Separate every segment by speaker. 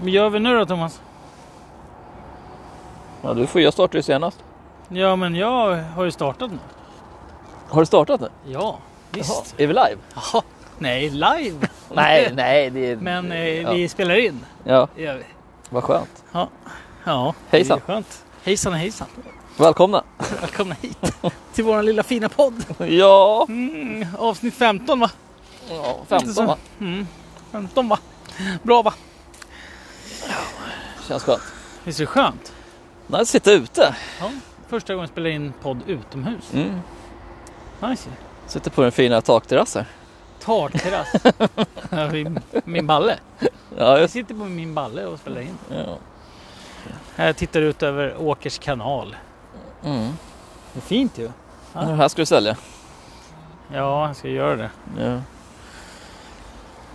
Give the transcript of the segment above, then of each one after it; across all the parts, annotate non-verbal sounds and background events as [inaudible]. Speaker 1: Vad gör vi nu då Thomas?
Speaker 2: Ja, du får jag startade ju senast.
Speaker 1: Ja men jag har ju startat nu.
Speaker 2: Har du startat nu?
Speaker 1: Ja, visst.
Speaker 2: Jaha, är vi live?
Speaker 1: Jaha. Nej, live.
Speaker 2: [laughs] Nej, nej. Det är...
Speaker 1: Men eh,
Speaker 2: ja.
Speaker 1: vi spelar in.
Speaker 2: Ja,
Speaker 1: Det gör vi.
Speaker 2: vad skönt.
Speaker 1: Ja. ja
Speaker 2: Hejsan.
Speaker 1: Det är skönt. Hejsan hejsan.
Speaker 2: Välkomna. [laughs]
Speaker 1: Välkomna hit [laughs] till vår lilla fina podd.
Speaker 2: Ja,
Speaker 1: Mm, avsnitt 15 va?
Speaker 2: ja
Speaker 1: Inte så.
Speaker 2: 15 va?
Speaker 1: Mm, 15 va? Bra va?
Speaker 2: Känns skönt.
Speaker 1: Visst är det skönt?
Speaker 2: Nice, sitta ute.
Speaker 1: Ja. Första gången jag spelar in podd utomhus.
Speaker 2: Mm.
Speaker 1: Nice.
Speaker 2: Sitter på den fina takterrassen.
Speaker 1: Takterrass. [laughs] Ja, min- min balle.
Speaker 2: Ja,
Speaker 1: Jag
Speaker 2: just
Speaker 1: sitter på min balle och spelar in.
Speaker 2: ja.
Speaker 1: Jag tittar ut över Åkers kanal.
Speaker 2: Mm.
Speaker 1: Det är fint ju.
Speaker 2: Det här ska du sälja.
Speaker 1: Ja, jag ska göra det.
Speaker 2: Ja.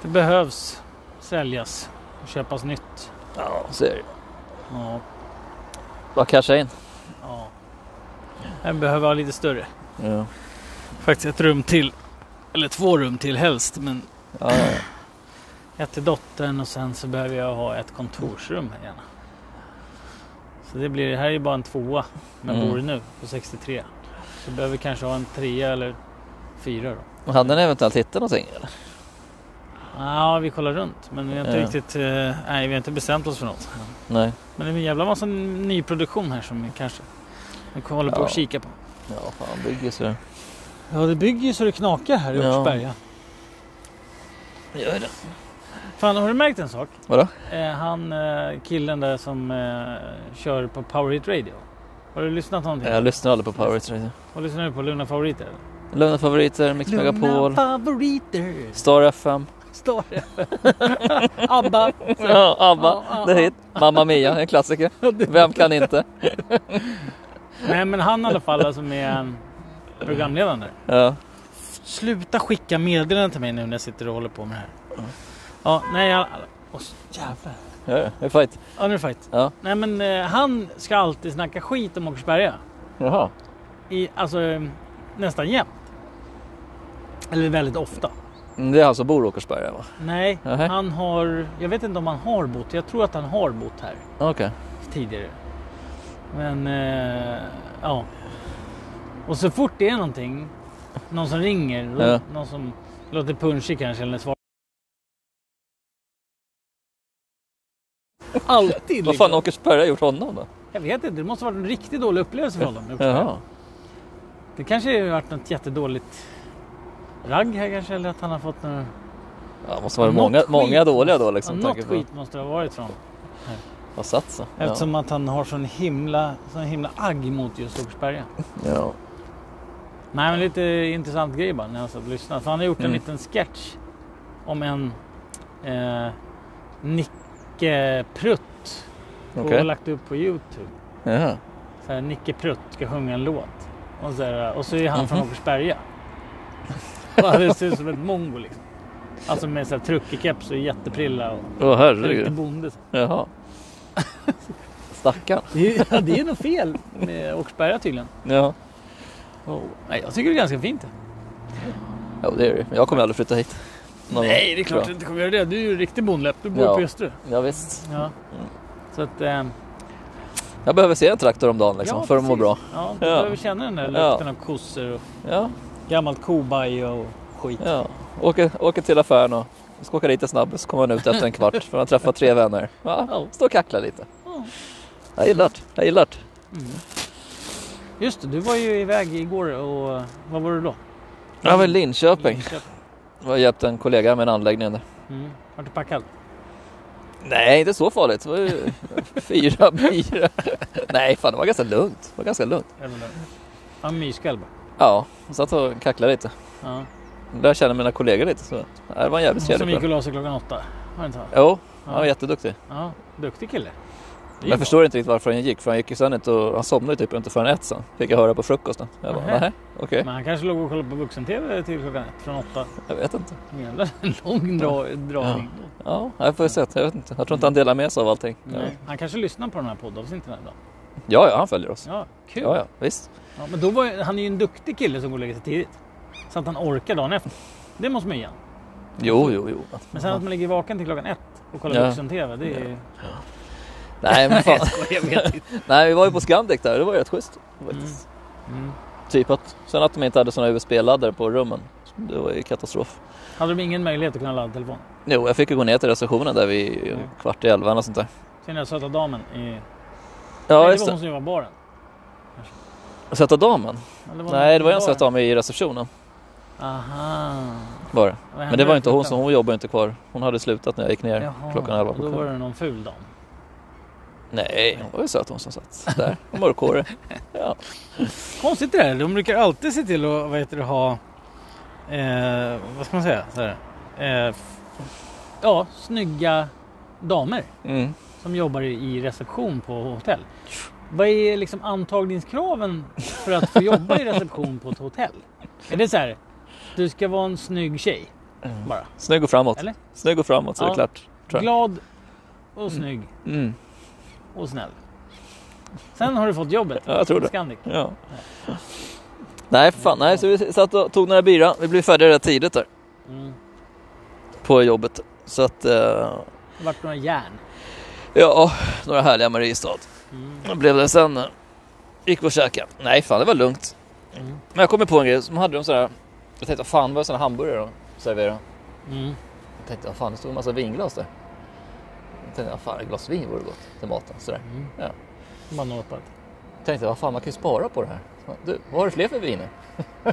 Speaker 1: Det behövs säljas och köpas nytt.
Speaker 2: Ja, så är det.
Speaker 1: Ja,
Speaker 2: Bara casha in.
Speaker 1: ja. Den behöver vara lite större.
Speaker 2: Ja.
Speaker 1: Faktiskt ett rum till. Eller två rum till helst. Men
Speaker 2: Ja, ja, ja.
Speaker 1: ett till dottern och sen så behöver jag ha ett kontorsrum här gärna. Så det blir, det här är ju bara en tvåa. Men
Speaker 2: Mm.
Speaker 1: bor nu på 63. Så behöver vi kanske ha en trea eller fyra då.
Speaker 2: Och Hade ni eventuellt hittat någonting? Eller?
Speaker 1: Ja, vi kollar runt. Men vi har inte
Speaker 2: Ja.
Speaker 1: riktigt, eh, nej vi har inte bestämt oss för något.
Speaker 2: Nej.
Speaker 1: Men det är en jävla massa nyproduktion här som vi kanske vi håller på
Speaker 2: Ja.
Speaker 1: att kika på.
Speaker 2: Ja, fan bygger så.
Speaker 1: Ja, det bygger ju så det knakar här i
Speaker 2: Ja.
Speaker 1: Åkersberga.
Speaker 2: Gör det.
Speaker 1: Fan, har du märkt en sak?
Speaker 2: Vadå?
Speaker 1: Eh, han eh, killen där som eh, kör på Power Hit Radio. Har du lyssnat någonting?
Speaker 2: Jag lyssnar aldrig på Power Rangers.
Speaker 1: Vad lyssnar du på? Lugna favoriter?
Speaker 2: Lugna favoriter, Mix Megapol,
Speaker 1: favoriter,
Speaker 2: Star FM.
Speaker 1: står det. [laughs] Abba.
Speaker 2: Ja, ABBA,
Speaker 1: Ja,
Speaker 2: The
Speaker 1: ja,
Speaker 2: Hit, Mamma Mia, en klassiker. Vem kan inte?
Speaker 1: Nej, men han i alla fall som är eh, programledaren där.
Speaker 2: Ja,
Speaker 1: Sluta skicka meddelanden till mig nu när jag sitter och håller på med det här. Ja, nej, jag... Åh, jävlar.
Speaker 2: ja, ja, det är fight.
Speaker 1: Ja, nu är det fight.
Speaker 2: Ja.
Speaker 1: Nej, men eh, han ska alltid snacka skit om Åkersberga.
Speaker 2: Jaha.
Speaker 1: I, alltså eh, nästan jämt. Eller väldigt ofta.
Speaker 2: Mm, Det är han som bor i Åkersberga va?
Speaker 1: Nej,
Speaker 2: Nähä.
Speaker 1: han har... Jag vet inte om han har bott. Jag tror att han har bott här
Speaker 2: Okej.
Speaker 1: tidigare. Men, eh, ja. Och så fort det är någonting, någon som ringer, då-
Speaker 2: Ja.
Speaker 1: någon som låter punschig kanske eller svarar. Alltid liksom.
Speaker 2: Vad fan har Åkersberga gjort honom då?
Speaker 1: Jag vet inte, det måste ha varit en riktigt dålig upplevelse för honom.
Speaker 2: Jaha.
Speaker 1: Det kanske har varit något jättedåligt ragg här kanske, eller att han har fått några...
Speaker 2: Ja, måste vara
Speaker 1: Något
Speaker 2: många,
Speaker 1: skit
Speaker 2: många dåliga då
Speaker 1: Ja,
Speaker 2: liksom. med
Speaker 1: något
Speaker 2: tanke på
Speaker 1: skit måste det ha varit från.
Speaker 2: vad satt sig. Ja.
Speaker 1: Eftersom att han har sån himla, sån himla agg mot just Åkersberga.
Speaker 2: Ja.
Speaker 1: Nej men lite intressant grej bara när jag satt och lyssnade. För han har gjort en
Speaker 2: Mm.
Speaker 1: liten sketch om en eh, Nicke Prutt.
Speaker 2: Okej.
Speaker 1: Och lagt upp på Youtube.
Speaker 2: Jaha.
Speaker 1: Så här, Nicke Prutt ska sjunga en låt. Och så, här, och så är han
Speaker 2: Mhm.
Speaker 1: från Åkersberga. [laughs] Och det ser ut som ett mongo liksom. Alltså med så här truckerkeps och jätteprilla och
Speaker 2: Åh
Speaker 1: ser lite
Speaker 2: herregud.
Speaker 1: bonde. så. [laughs]
Speaker 2: Jaha. Stackarn.
Speaker 1: Det är, ja, [laughs] det är nog fel med Åkersberga tydligen.
Speaker 2: Ja.
Speaker 1: Oh. Nej, jag tycker det är ganska fint. det.
Speaker 2: Jo det är det Jag kommer aldrig flytta hit. Någon
Speaker 1: Nej, det är
Speaker 2: gång, tror
Speaker 1: klart du inte kommer göra det. Du är ju en riktig bondläpp. Du bor
Speaker 2: Ja. Mm.
Speaker 1: på Österö.
Speaker 2: jag. Ja, visst.
Speaker 1: Ja. Så att, eh,
Speaker 2: Jag behöver se en traktor om dagen liksom, för att må
Speaker 1: precis.
Speaker 2: bra.
Speaker 1: Ja, du
Speaker 2: Ja.
Speaker 1: behöver känna den där lukten av kossor och
Speaker 2: Ja,
Speaker 1: gammalt kobaj och skit.
Speaker 2: ja. Åker, åker till affären och ska åka dit en snabbis. Kommer han ut efter en kvart för han träffar tre vänner. Ja, står och kacklar lite.
Speaker 1: Ja.
Speaker 2: Jag gillar det. Jag gillar det.
Speaker 1: Mm. Just det, du var ju iväg igår och eh, vad var du då?
Speaker 2: Jag var i Linköping.
Speaker 1: Linköping.
Speaker 2: Jag hjälpte en kollega med en anläggning där.
Speaker 1: Mm. Vart du packad?
Speaker 2: Nej, inte så farligt. Det var ju [laughs] fyra bira. Nej, fan det var ganska lugnt. Det var ganska lugnt.
Speaker 1: Eller vad? Ja, myskväll bara.
Speaker 2: Ja, jag satt och kacklade lite.
Speaker 1: Ja.
Speaker 2: Lärde känna mina kollegor lite. Så. Ja, Det var en jävligt
Speaker 1: Som
Speaker 2: trevlig
Speaker 1: gick och
Speaker 2: kväll.
Speaker 1: la sig klockan åtta. Var det inte så?
Speaker 2: Jo, han var jätteduktig.
Speaker 1: Ja, duktig kille. Det är
Speaker 2: Men jag
Speaker 1: bra.
Speaker 2: förstår inte riktigt varför han gick. För han gick ju sen inte och han somnade ju typ inte förrän ett sen. Fick jag höra på frukosten. Jag bara,
Speaker 1: Nähä.
Speaker 2: nej, okej.
Speaker 1: Men han kanske låg och kollade på vuxen-tv till klockan ett, från åtta.
Speaker 2: Jag vet inte.
Speaker 1: Jävla [laughs] lång dra, dragning.
Speaker 2: Ja, jag får ju se. Jag vet inte. Jag tror inte han delar med sig av allting.
Speaker 1: Nej. Han kanske lyssnar på den här poddavsnitten den här dagen.
Speaker 2: Ja, ja, han följer oss.
Speaker 1: Ja, kul.
Speaker 2: Ja, ja, visst.
Speaker 1: Ja, men då var, ju- han är ju en duktig kille som går och lägger sig tidigt. Så att han orkar dagen efter. Det måste man ju igen.
Speaker 2: Jo, jo, jo.
Speaker 1: Men sen att man ligger vaken till klockan ett. och kolla
Speaker 2: Ja.
Speaker 1: vuxen-tv. Det är... [laughs]
Speaker 2: Nej men fan.
Speaker 1: Jag skojar, jag vet inte.
Speaker 2: Nej vi var ju på Scandic där det var ju rätt schysst. faktiskt.
Speaker 1: Mm.
Speaker 2: Typ att, sen att de inte hade sådana USB-laddare på rummen. Det var ju katastrof.
Speaker 1: Hade de ingen möjlighet att kunna ladda telefon?
Speaker 2: Jo jag fick ju gå ner till receptionen där vid
Speaker 1: Mm.
Speaker 2: kvart i elva eller sånt där.
Speaker 1: Sen den söta damen i...
Speaker 2: Ja
Speaker 1: Nej, det
Speaker 2: just
Speaker 1: var hon
Speaker 2: det.
Speaker 1: som jobbade i baren.
Speaker 2: Söta damen.
Speaker 1: Ja, var någon
Speaker 2: Nej det var ju en
Speaker 1: i baren.
Speaker 2: söt dam i receptionen.
Speaker 1: Aha.
Speaker 2: Var det.
Speaker 1: Vad hände
Speaker 2: Men det var
Speaker 1: där
Speaker 2: inte hon
Speaker 1: klockan?
Speaker 2: som hon jobbar ju inte kvar. Hon hade slutat när jag gick ner
Speaker 1: Jaha,
Speaker 2: klockan elva på
Speaker 1: Då var
Speaker 2: kvällen.
Speaker 1: det någon ful dam.
Speaker 2: Nej hon var ju söt hon som satt där. Och Mörkhårig. Ja.
Speaker 1: Konstigt det där. De brukar alltid se till att vad heter det, ha... Eh, vad ska man säga? Så här, eh, f- ja, snygga damer
Speaker 2: Mm.
Speaker 1: som jobbar i- i reception på hotell. Vad är liksom antagningskraven för att få jobba i reception på ett hotell? Är det så här, du ska vara en snygg tjej bara?
Speaker 2: Snygg och framåt.
Speaker 1: Mm. Eller?
Speaker 2: Snygg och framåt så är
Speaker 1: Ja.
Speaker 2: det klart. Tror jag.
Speaker 1: Glad och snygg
Speaker 2: Mm.
Speaker 1: och snäll. Sen har du fått jobbet.
Speaker 2: Ja, jag tror det.
Speaker 1: Scandic.
Speaker 2: Ja. Nej för fan, nej så vi satt och tog några bira. Vi blev färdiga rätt tidigt där
Speaker 1: Mm.
Speaker 2: på jobbet. Så att, eh,
Speaker 1: Det vart några järn.
Speaker 2: ja, några härliga Mariestad.
Speaker 1: Mm.
Speaker 2: Då blev det sen, eh, gick vi och käkade. Nej fan det var lugnt.
Speaker 1: Mm.
Speaker 2: Men jag kom ju på en grej, som hade de sådär, jag tänkte fan var det sådana hamburgare de serverade?
Speaker 1: Mm.
Speaker 2: Jag tänkte vad fan det stod en massa vinglas där. Jag tänkte vad fan ett glas vin vore gott till maten. Sådär.
Speaker 1: Mm.
Speaker 2: Ja.
Speaker 1: Bara nåpat.
Speaker 2: Jag tänkte vad fan man kan ju spara på det här. Du, vad har du fler för viner? [laughs]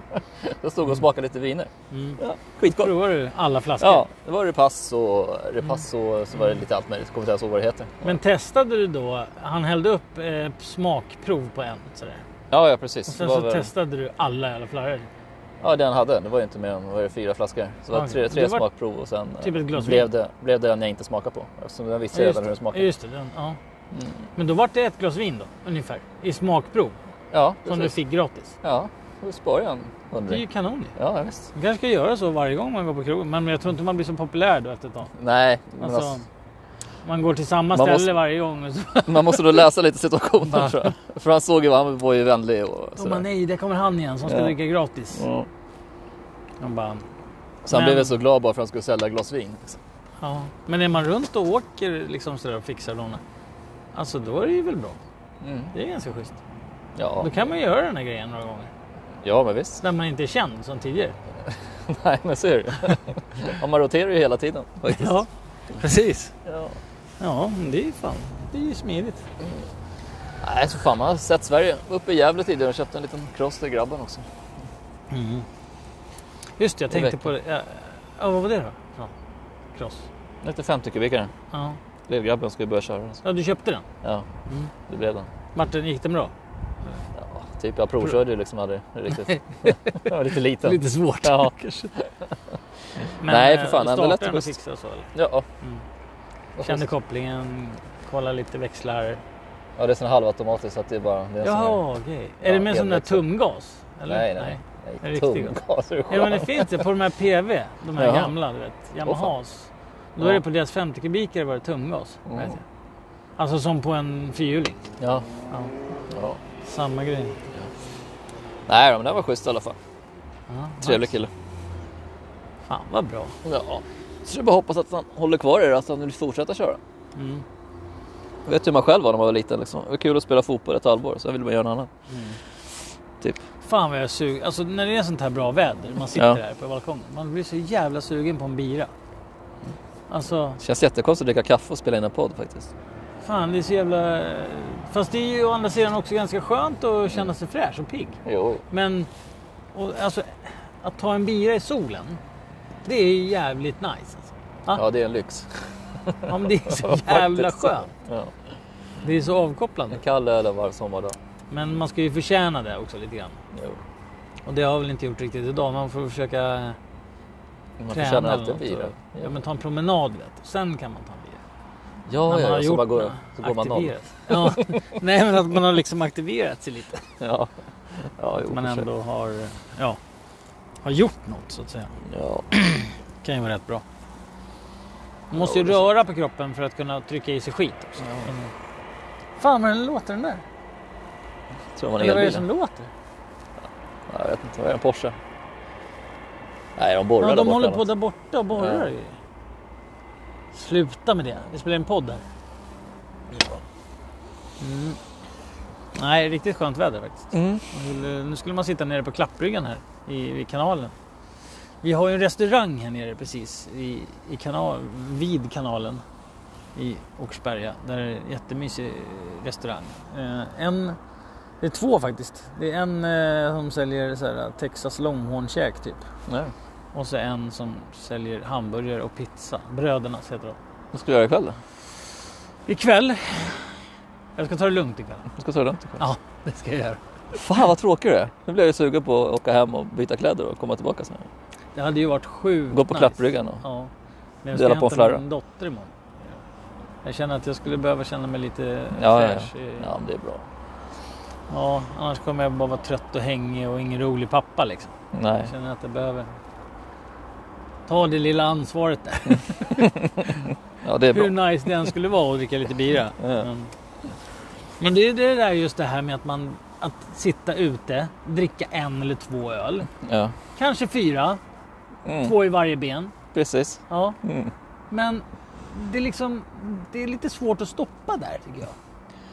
Speaker 2: jag stod och smakade lite viner.
Speaker 1: Mm.
Speaker 2: Ja, skitgott.
Speaker 1: Provar du alla flaskor?
Speaker 2: Ja, det var repass och repass och så var det lite allt möjligt. Kommer inte ens ihåg vad det heter.
Speaker 1: Mm. Men testade du då, han hällde upp eh, smakprov på en sådär.
Speaker 2: Ja, ja
Speaker 1: Och
Speaker 2: precis. Det
Speaker 1: sen
Speaker 2: var
Speaker 1: så
Speaker 2: väl,
Speaker 1: testade du alla jävla flaskor.
Speaker 2: ja, det han hade. Det var ju inte mer än vad var det, fyra flaskor. Så det var
Speaker 1: Okej.
Speaker 2: tre, tre
Speaker 1: Det var
Speaker 2: smakprov och sen eh,
Speaker 1: typ ett glas
Speaker 2: blev, det, blev det en jag inte smakade på. Eftersom jag visste redan hur Mm. den
Speaker 1: just, det,
Speaker 2: smakade.
Speaker 1: just det, den, ja. Men då vart det ett glas vin då, ungefär. I smakprov.
Speaker 2: Ja,
Speaker 1: Eh, Som du
Speaker 2: precis.
Speaker 1: fick gratis.
Speaker 2: Ja, då sparar jag en
Speaker 1: Det är ju
Speaker 2: hundring.
Speaker 1: kanon ju.
Speaker 2: Ja, visst.
Speaker 1: Man kanske ska göra så varje gång man går på krogen. Men jag tror inte man blir så populär då efter ett tag.
Speaker 2: Nej, men
Speaker 1: Alltså,
Speaker 2: alltså,
Speaker 1: man går till samma
Speaker 2: Man
Speaker 1: ställe
Speaker 2: måste- Alltså.
Speaker 1: varje gång. Och så,
Speaker 2: man måste då läsa
Speaker 1: [laughs]
Speaker 2: lite situationen tror jag. För han såg ju, han var ju vänlig och
Speaker 1: och man,
Speaker 2: sådär.
Speaker 1: nej, där kommer han igen som ska
Speaker 2: Ja.
Speaker 1: dricka gratis.
Speaker 2: Ja.
Speaker 1: Man bara,
Speaker 2: Så han
Speaker 1: Men-
Speaker 2: blev väl så glad bara för att han skulle sälja glas vin. liksom.
Speaker 1: ja. Men är man runt och åker liksom sådär och fixar och ordnar, Alltså då är det ju väl bra.
Speaker 2: Mm.
Speaker 1: Det är ganska schysst.
Speaker 2: Ja.
Speaker 1: Då kan man ju göra den här grejen några gånger.
Speaker 2: ja, men visst. [laughs]
Speaker 1: När man inte är känd som tidigare.
Speaker 2: Nej, men så är [laughs] det ja, Man roterar ju hela tiden faktiskt.
Speaker 1: precis.
Speaker 2: Ja.
Speaker 1: Ja, men det är ju fan. Det är ju smidigt.
Speaker 2: Nej, så fan man har sett Sverige. Var Uppe i Gävle tidigare och köpte en liten cross till grabben också. Mm.
Speaker 1: Just det, jag
Speaker 2: I
Speaker 1: tänkte
Speaker 2: veckan.
Speaker 1: på det. Ja, ja, vad var det då? Ja. Cross.
Speaker 2: Lite 50 kubikare.
Speaker 1: Ja.
Speaker 2: Lillgrabben ska ju börja köra alltså. den.
Speaker 1: ja, du köpte den.
Speaker 2: Ja,
Speaker 1: Mm.
Speaker 2: det blev den.
Speaker 1: Martin, gick den bra?
Speaker 2: Ja, typ jag provkörde ju liksom aldrig [laughs] riktigt. Jag var lite liten.
Speaker 1: svårt.
Speaker 2: Ja.
Speaker 1: [laughs]
Speaker 2: [laughs]
Speaker 1: kanske. eh,
Speaker 2: Nej, för fan, ändå lätt
Speaker 1: Startade
Speaker 2: och
Speaker 1: den och
Speaker 2: schysst.
Speaker 1: fixade så? eller?
Speaker 2: Ja.
Speaker 1: Mm. Kände kopplingen, kolla lite växlar.
Speaker 2: ja, det är sån halvautomatisk så att det är bara... Det är en sån här-
Speaker 1: Jaha, okej. Är
Speaker 2: Ja,
Speaker 1: det med sån där
Speaker 2: elväxel.
Speaker 1: tumgas? Eller?
Speaker 2: Nej, nej. nej.
Speaker 1: En riktig
Speaker 2: Tumgas, är det
Speaker 1: Ja, men det
Speaker 2: skönt?
Speaker 1: finns det på de här PV, de här
Speaker 2: Jaha.
Speaker 1: gamla, du vet, Yamahas. Då är
Speaker 2: Ja.
Speaker 1: det på deras 50 kubikare var det tumgas.
Speaker 2: Mm.
Speaker 1: Vet jag. Alltså som på en fyrhjuling.
Speaker 2: Ja.
Speaker 1: Ja,
Speaker 2: ja.
Speaker 1: samma grej.
Speaker 2: Nej, då, men det var schysst i alla fall.
Speaker 1: Ja,
Speaker 2: Trevlig
Speaker 1: nice.
Speaker 2: kille.
Speaker 1: Fan vad bra.
Speaker 2: Ja. Så det är bara att hoppas att han håller kvar i det, att han vill fortsätta köra.
Speaker 1: Mm.
Speaker 2: Jag vet hur man själv var när man var liten liksom. Det var kul att spela fotboll ett halvår, sen ville man göra något annat. Typ.
Speaker 1: Mm. Fan vad jag är sugen. Alltså när det är sånt här bra väder, man sitter
Speaker 2: Ja.
Speaker 1: här på balkongen. Man blir så jävla sugen på en bira. Alltså,
Speaker 2: Det känns jättekonstigt att dricka kaffe och spela in en podd faktiskt.
Speaker 1: fan det är så jävla... Fast det är ju å andra sidan också ganska skönt att känna sig fräsch och pigg.
Speaker 2: Jo.
Speaker 1: Men och, alltså, att ta en bira i solen, det är ju jävligt nice. Alltså.
Speaker 2: Ja, det är en lyx.
Speaker 1: Ja, men det är så jävla
Speaker 2: [laughs] Faktiskt.
Speaker 1: skönt.
Speaker 2: Ja.
Speaker 1: Det är så avkopplande.
Speaker 2: En kall öl en varm sommardag.
Speaker 1: Men man ska ju förtjäna det också lite grann.
Speaker 2: Jo.
Speaker 1: Och det har jag väl inte gjort riktigt idag. Man får försöka
Speaker 2: Man
Speaker 1: träna
Speaker 2: förtjänar
Speaker 1: eller
Speaker 2: alltid
Speaker 1: något.
Speaker 2: en bira.
Speaker 1: och- Ja, men ta en promenad vet du. Sen kan man ta en bira.
Speaker 2: ja,
Speaker 1: När
Speaker 2: ja,
Speaker 1: man
Speaker 2: ja. Så, bara går,
Speaker 1: något,
Speaker 2: så går man noll.
Speaker 1: aktiverat.
Speaker 2: [laughs]
Speaker 1: Ja. Nej, men att man har liksom aktiverat sig lite.
Speaker 2: Ja. Ja, jo,
Speaker 1: Att man
Speaker 2: för sig.
Speaker 1: ändå har, ja, har gjort något så att säga.
Speaker 2: Ja.
Speaker 1: kan ju vara rätt bra. Man måste
Speaker 2: Ja,
Speaker 1: ju
Speaker 2: det är
Speaker 1: röra på kroppen för att kunna trycka i sig skit också. Mm. Fan vad den låter den där.
Speaker 2: Tror man
Speaker 1: Eller vad är det
Speaker 2: elbil?
Speaker 1: som låter?
Speaker 2: Ja, jag vet inte. Vad är det? En Porsche? Nej, de borrar
Speaker 1: Ja,
Speaker 2: där
Speaker 1: de
Speaker 2: borta
Speaker 1: håller
Speaker 2: eller
Speaker 1: på
Speaker 2: något.
Speaker 1: där borta och borrar.
Speaker 2: Ja.
Speaker 1: ju. Sluta med det. Vi spelar en podd här. Mm. Nej, riktigt skönt väder faktiskt.
Speaker 2: Mm.
Speaker 1: Man ville- eh, Nu skulle man sitta nere på klappryggan här i, vid kanalen. Vi har ju en restaurang här nere precis i, i kanal, vid kanalen i Åkersberga. Där är en jättemysig restaurang. Eh, en, det är två faktiskt. Det är en eh, som säljer så här, Texas Longhorn-käk typ.
Speaker 2: Nej.
Speaker 1: Och så en som säljer hamburgare och pizza. Brödernas heter de.
Speaker 2: Vad ska du göra ikväll då?
Speaker 1: Ikväll. Jag ska ta det lugnt ikväll.
Speaker 2: Du ska ta det lugnt ikväll.
Speaker 1: Ja, det ska jag göra.
Speaker 2: Fan vad tråkig du är. Nu blir jag ju sugen på att åka hem och byta kläder och komma tillbaka sen.
Speaker 1: Det hade ju varit sjukt
Speaker 2: Gå på
Speaker 1: nice.
Speaker 2: klappryggan och...
Speaker 1: Ja. Men jag
Speaker 2: Dela
Speaker 1: ska
Speaker 2: på en
Speaker 1: hämta
Speaker 2: flarra.
Speaker 1: min dotter imorgon. Jag känner att jag skulle behöva känna mig lite
Speaker 2: Ja, ja,
Speaker 1: fräsch. i-
Speaker 2: Ja, men det är bra.
Speaker 1: Ja, annars kommer jag bara vara trött och hängig och ingen rolig pappa liksom. Jag
Speaker 2: Nej.
Speaker 1: känner att jag behöver ta det lilla ansvaret där.
Speaker 2: Ja, det är bra.
Speaker 1: Hur nice det än skulle vara att dricka lite bira.
Speaker 2: [laughs] Ja.
Speaker 1: Men, men det är det där just det här med att man att sitta ute, dricka en eller två öl.
Speaker 2: Ja.
Speaker 1: Kanske fyra,
Speaker 2: Mm.
Speaker 1: två i varje ben.
Speaker 2: Precis.
Speaker 1: Ja.
Speaker 2: Mm.
Speaker 1: Men det är liksom, det är lite svårt att stoppa där tycker jag.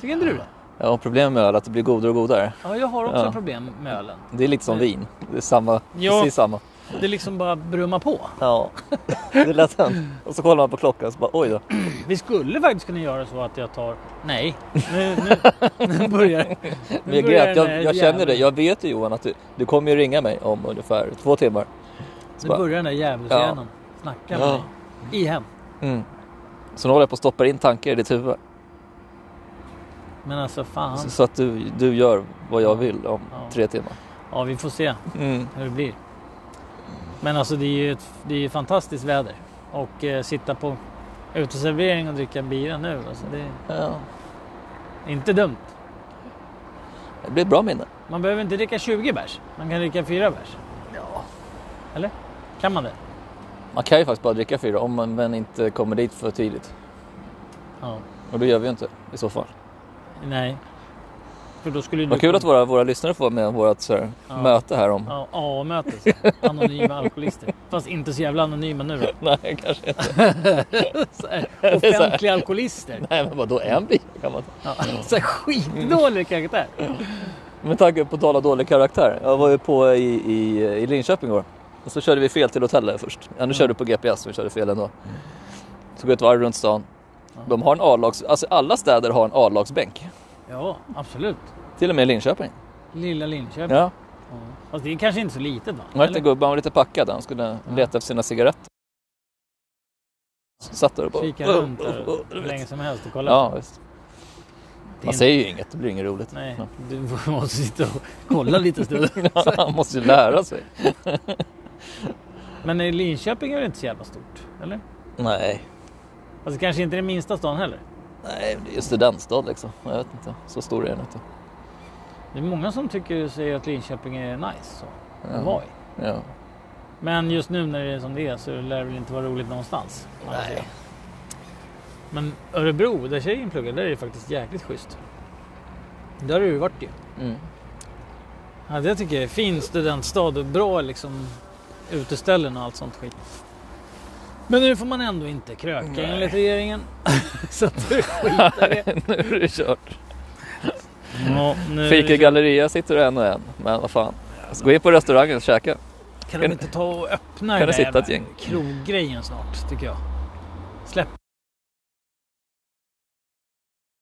Speaker 1: Tycker inte du det?
Speaker 2: Ja, problemet med öl är att det blir godare och godare.
Speaker 1: Ja, jag har också
Speaker 2: Ja.
Speaker 1: problem med ölen.
Speaker 2: Det är lite som vin. Det är samma.
Speaker 1: Ja.
Speaker 2: Precis samma.
Speaker 1: Det liksom bara brummar på.
Speaker 2: Ja, [laughs] det är lätt hänt. Och så kollar man på klockan och så bara oj då.
Speaker 1: Vi skulle faktiskt kunna göra så att jag tar, nej, nu, nu, nu
Speaker 2: [laughs]
Speaker 1: börjar
Speaker 2: Men jag, grät, jag, jag känner det. Jag vet ju Johan att du, du kommer ju ringa mig om ungefär två timmar.
Speaker 1: Nu
Speaker 2: Så, bara,
Speaker 1: börjar den där djävulshjärnan snacka med
Speaker 2: Ja.
Speaker 1: mig. Igen.
Speaker 2: mm. så nu håller jag på att stoppa in tankar i ditt huvud.
Speaker 1: Men alltså fan.
Speaker 2: Så, så att du, du gör vad jag vill om
Speaker 1: Ja.
Speaker 2: tre timmar.
Speaker 1: Ja, vi får se
Speaker 2: Mm.
Speaker 1: hur det blir. Men alltså det är ju ett, det är ju fantastiskt väder. Och eh, sitta på uteservering och dricka bira nu. Alltså, det
Speaker 2: Ja.
Speaker 1: är inte dumt.
Speaker 2: Det blir ett bra minne.
Speaker 1: Man behöver inte dricka 20 bärs. Man kan dricka 4 bärs.
Speaker 2: Ja.
Speaker 1: Eller? Kan man det?
Speaker 2: Man kan ju faktiskt bara dricka fyra om man men inte kommer dit för tidigt.
Speaker 1: Ja.
Speaker 2: Och det gör vi ju inte i så fall.
Speaker 1: Nej. För då skulle
Speaker 2: Vad kul att våra, våra lyssnare får vara med i vårt så här,
Speaker 1: Ja.
Speaker 2: möte här om...
Speaker 1: Ja, A-möte. Anonyma alkoholister. Fast inte så jävla anonyma
Speaker 2: [laughs]
Speaker 1: nu då.
Speaker 2: [laughs] Nej, kanske inte.
Speaker 1: Så här, Offentliga alkoholister.
Speaker 2: Nej, men vadå en bil kan man ta.
Speaker 1: Ja. Så här, skitdålig karaktär.
Speaker 2: Med tanke på att tala dålig karaktär. Jag var ju på i, i, i Linköping igår. Och så körde vi fel till hotellet först. Ja, nu körde vi på GPS, vi körde fel ändå. Så går jag ett varv runt stan. De har en A-lags... Alltså alla städer har en A-lagsbänk.
Speaker 1: Ja, absolut.
Speaker 2: Till och med Linköping.
Speaker 1: Lilla Linköping.
Speaker 2: Ja.
Speaker 1: Ja. Fast det är kanske inte så litet va?
Speaker 2: Han var inte
Speaker 1: Eller?
Speaker 2: gubben, han var lite packad. Han skulle leta efter sina cigaretter. Så Satt där och bara...
Speaker 1: Kika runt där
Speaker 2: Oh, oh, oh,
Speaker 1: hur länge som helst och kolla.
Speaker 2: Ja,
Speaker 1: Det
Speaker 2: visst.
Speaker 1: är
Speaker 2: Man
Speaker 1: inte-
Speaker 2: säger ju inget, det blir inget roligt. [laughs]
Speaker 1: Nej, du [laughs] måste sitta och kolla lite en stund.
Speaker 2: Han måste ju lära sig.
Speaker 1: Men i Linköping är det inte så jävla stort? Eller?
Speaker 2: Nej,
Speaker 1: Alltså kanske inte den minsta stan heller.
Speaker 2: Nej, det är ju studentstad liksom. Jag vet inte. Så stor är den inte.
Speaker 1: Det är många som tycker säger att Linköping är nice. Så.
Speaker 2: Ja.
Speaker 1: Ja.
Speaker 2: Ja.
Speaker 1: Men just nu när det är som det är så lär det väl inte vara roligt någonstans.
Speaker 2: Nej.
Speaker 1: Men Örebro, där tjejen pluggar, där är det faktiskt jäkligt schysst. Där har du varit ju.
Speaker 2: Mm.
Speaker 1: Ja, det tycker jag är fin studentstad och bra liksom uteställen och allt sånt skit. Men nu får man ändå inte kröka
Speaker 2: Nej.
Speaker 1: enligt regeringen. [laughs] så att du skiter i [laughs] det.
Speaker 2: nu är det kört.
Speaker 1: Ja, nu
Speaker 2: Fika i Galleria sitter det en och en. Men vad fan. Alltså, gå in på restaurangen och käka.
Speaker 1: Kan
Speaker 2: Kan-
Speaker 1: de inte ta och öppna
Speaker 2: kan
Speaker 1: den
Speaker 2: det
Speaker 1: där
Speaker 2: sitta ett gäng?
Speaker 1: kroggrejen snart, tycker jag. Släpp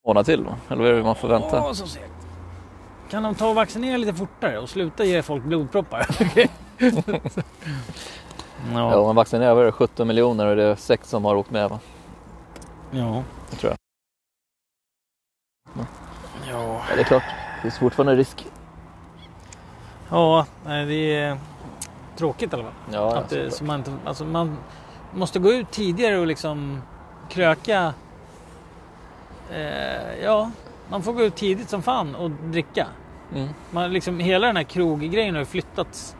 Speaker 2: Månad till då. Eller vad är det man får vänta?
Speaker 1: Åh, så segt. Kan de ta och vaccinera lite fortare och sluta ge folk blodproppar? [laughs]
Speaker 2: [laughs] Ja,
Speaker 1: ja.
Speaker 2: man vaccinerar över 17 miljoner och det är sex som har åkt med. Va?
Speaker 1: Ja.
Speaker 2: Det tror jag.
Speaker 1: Ja.
Speaker 2: Ja, det är klart. Det är fortfarande risk.
Speaker 1: ja, nej, det är tråkigt i alla fall.
Speaker 2: Ja,
Speaker 1: Att det, så man, inte, alltså, man måste gå ut tidigare och liksom kröka. Eh, ja, man får gå ut tidigt som fan och dricka.
Speaker 2: mm.
Speaker 1: Man, liksom, hela den här kroggrejen har ju flyttats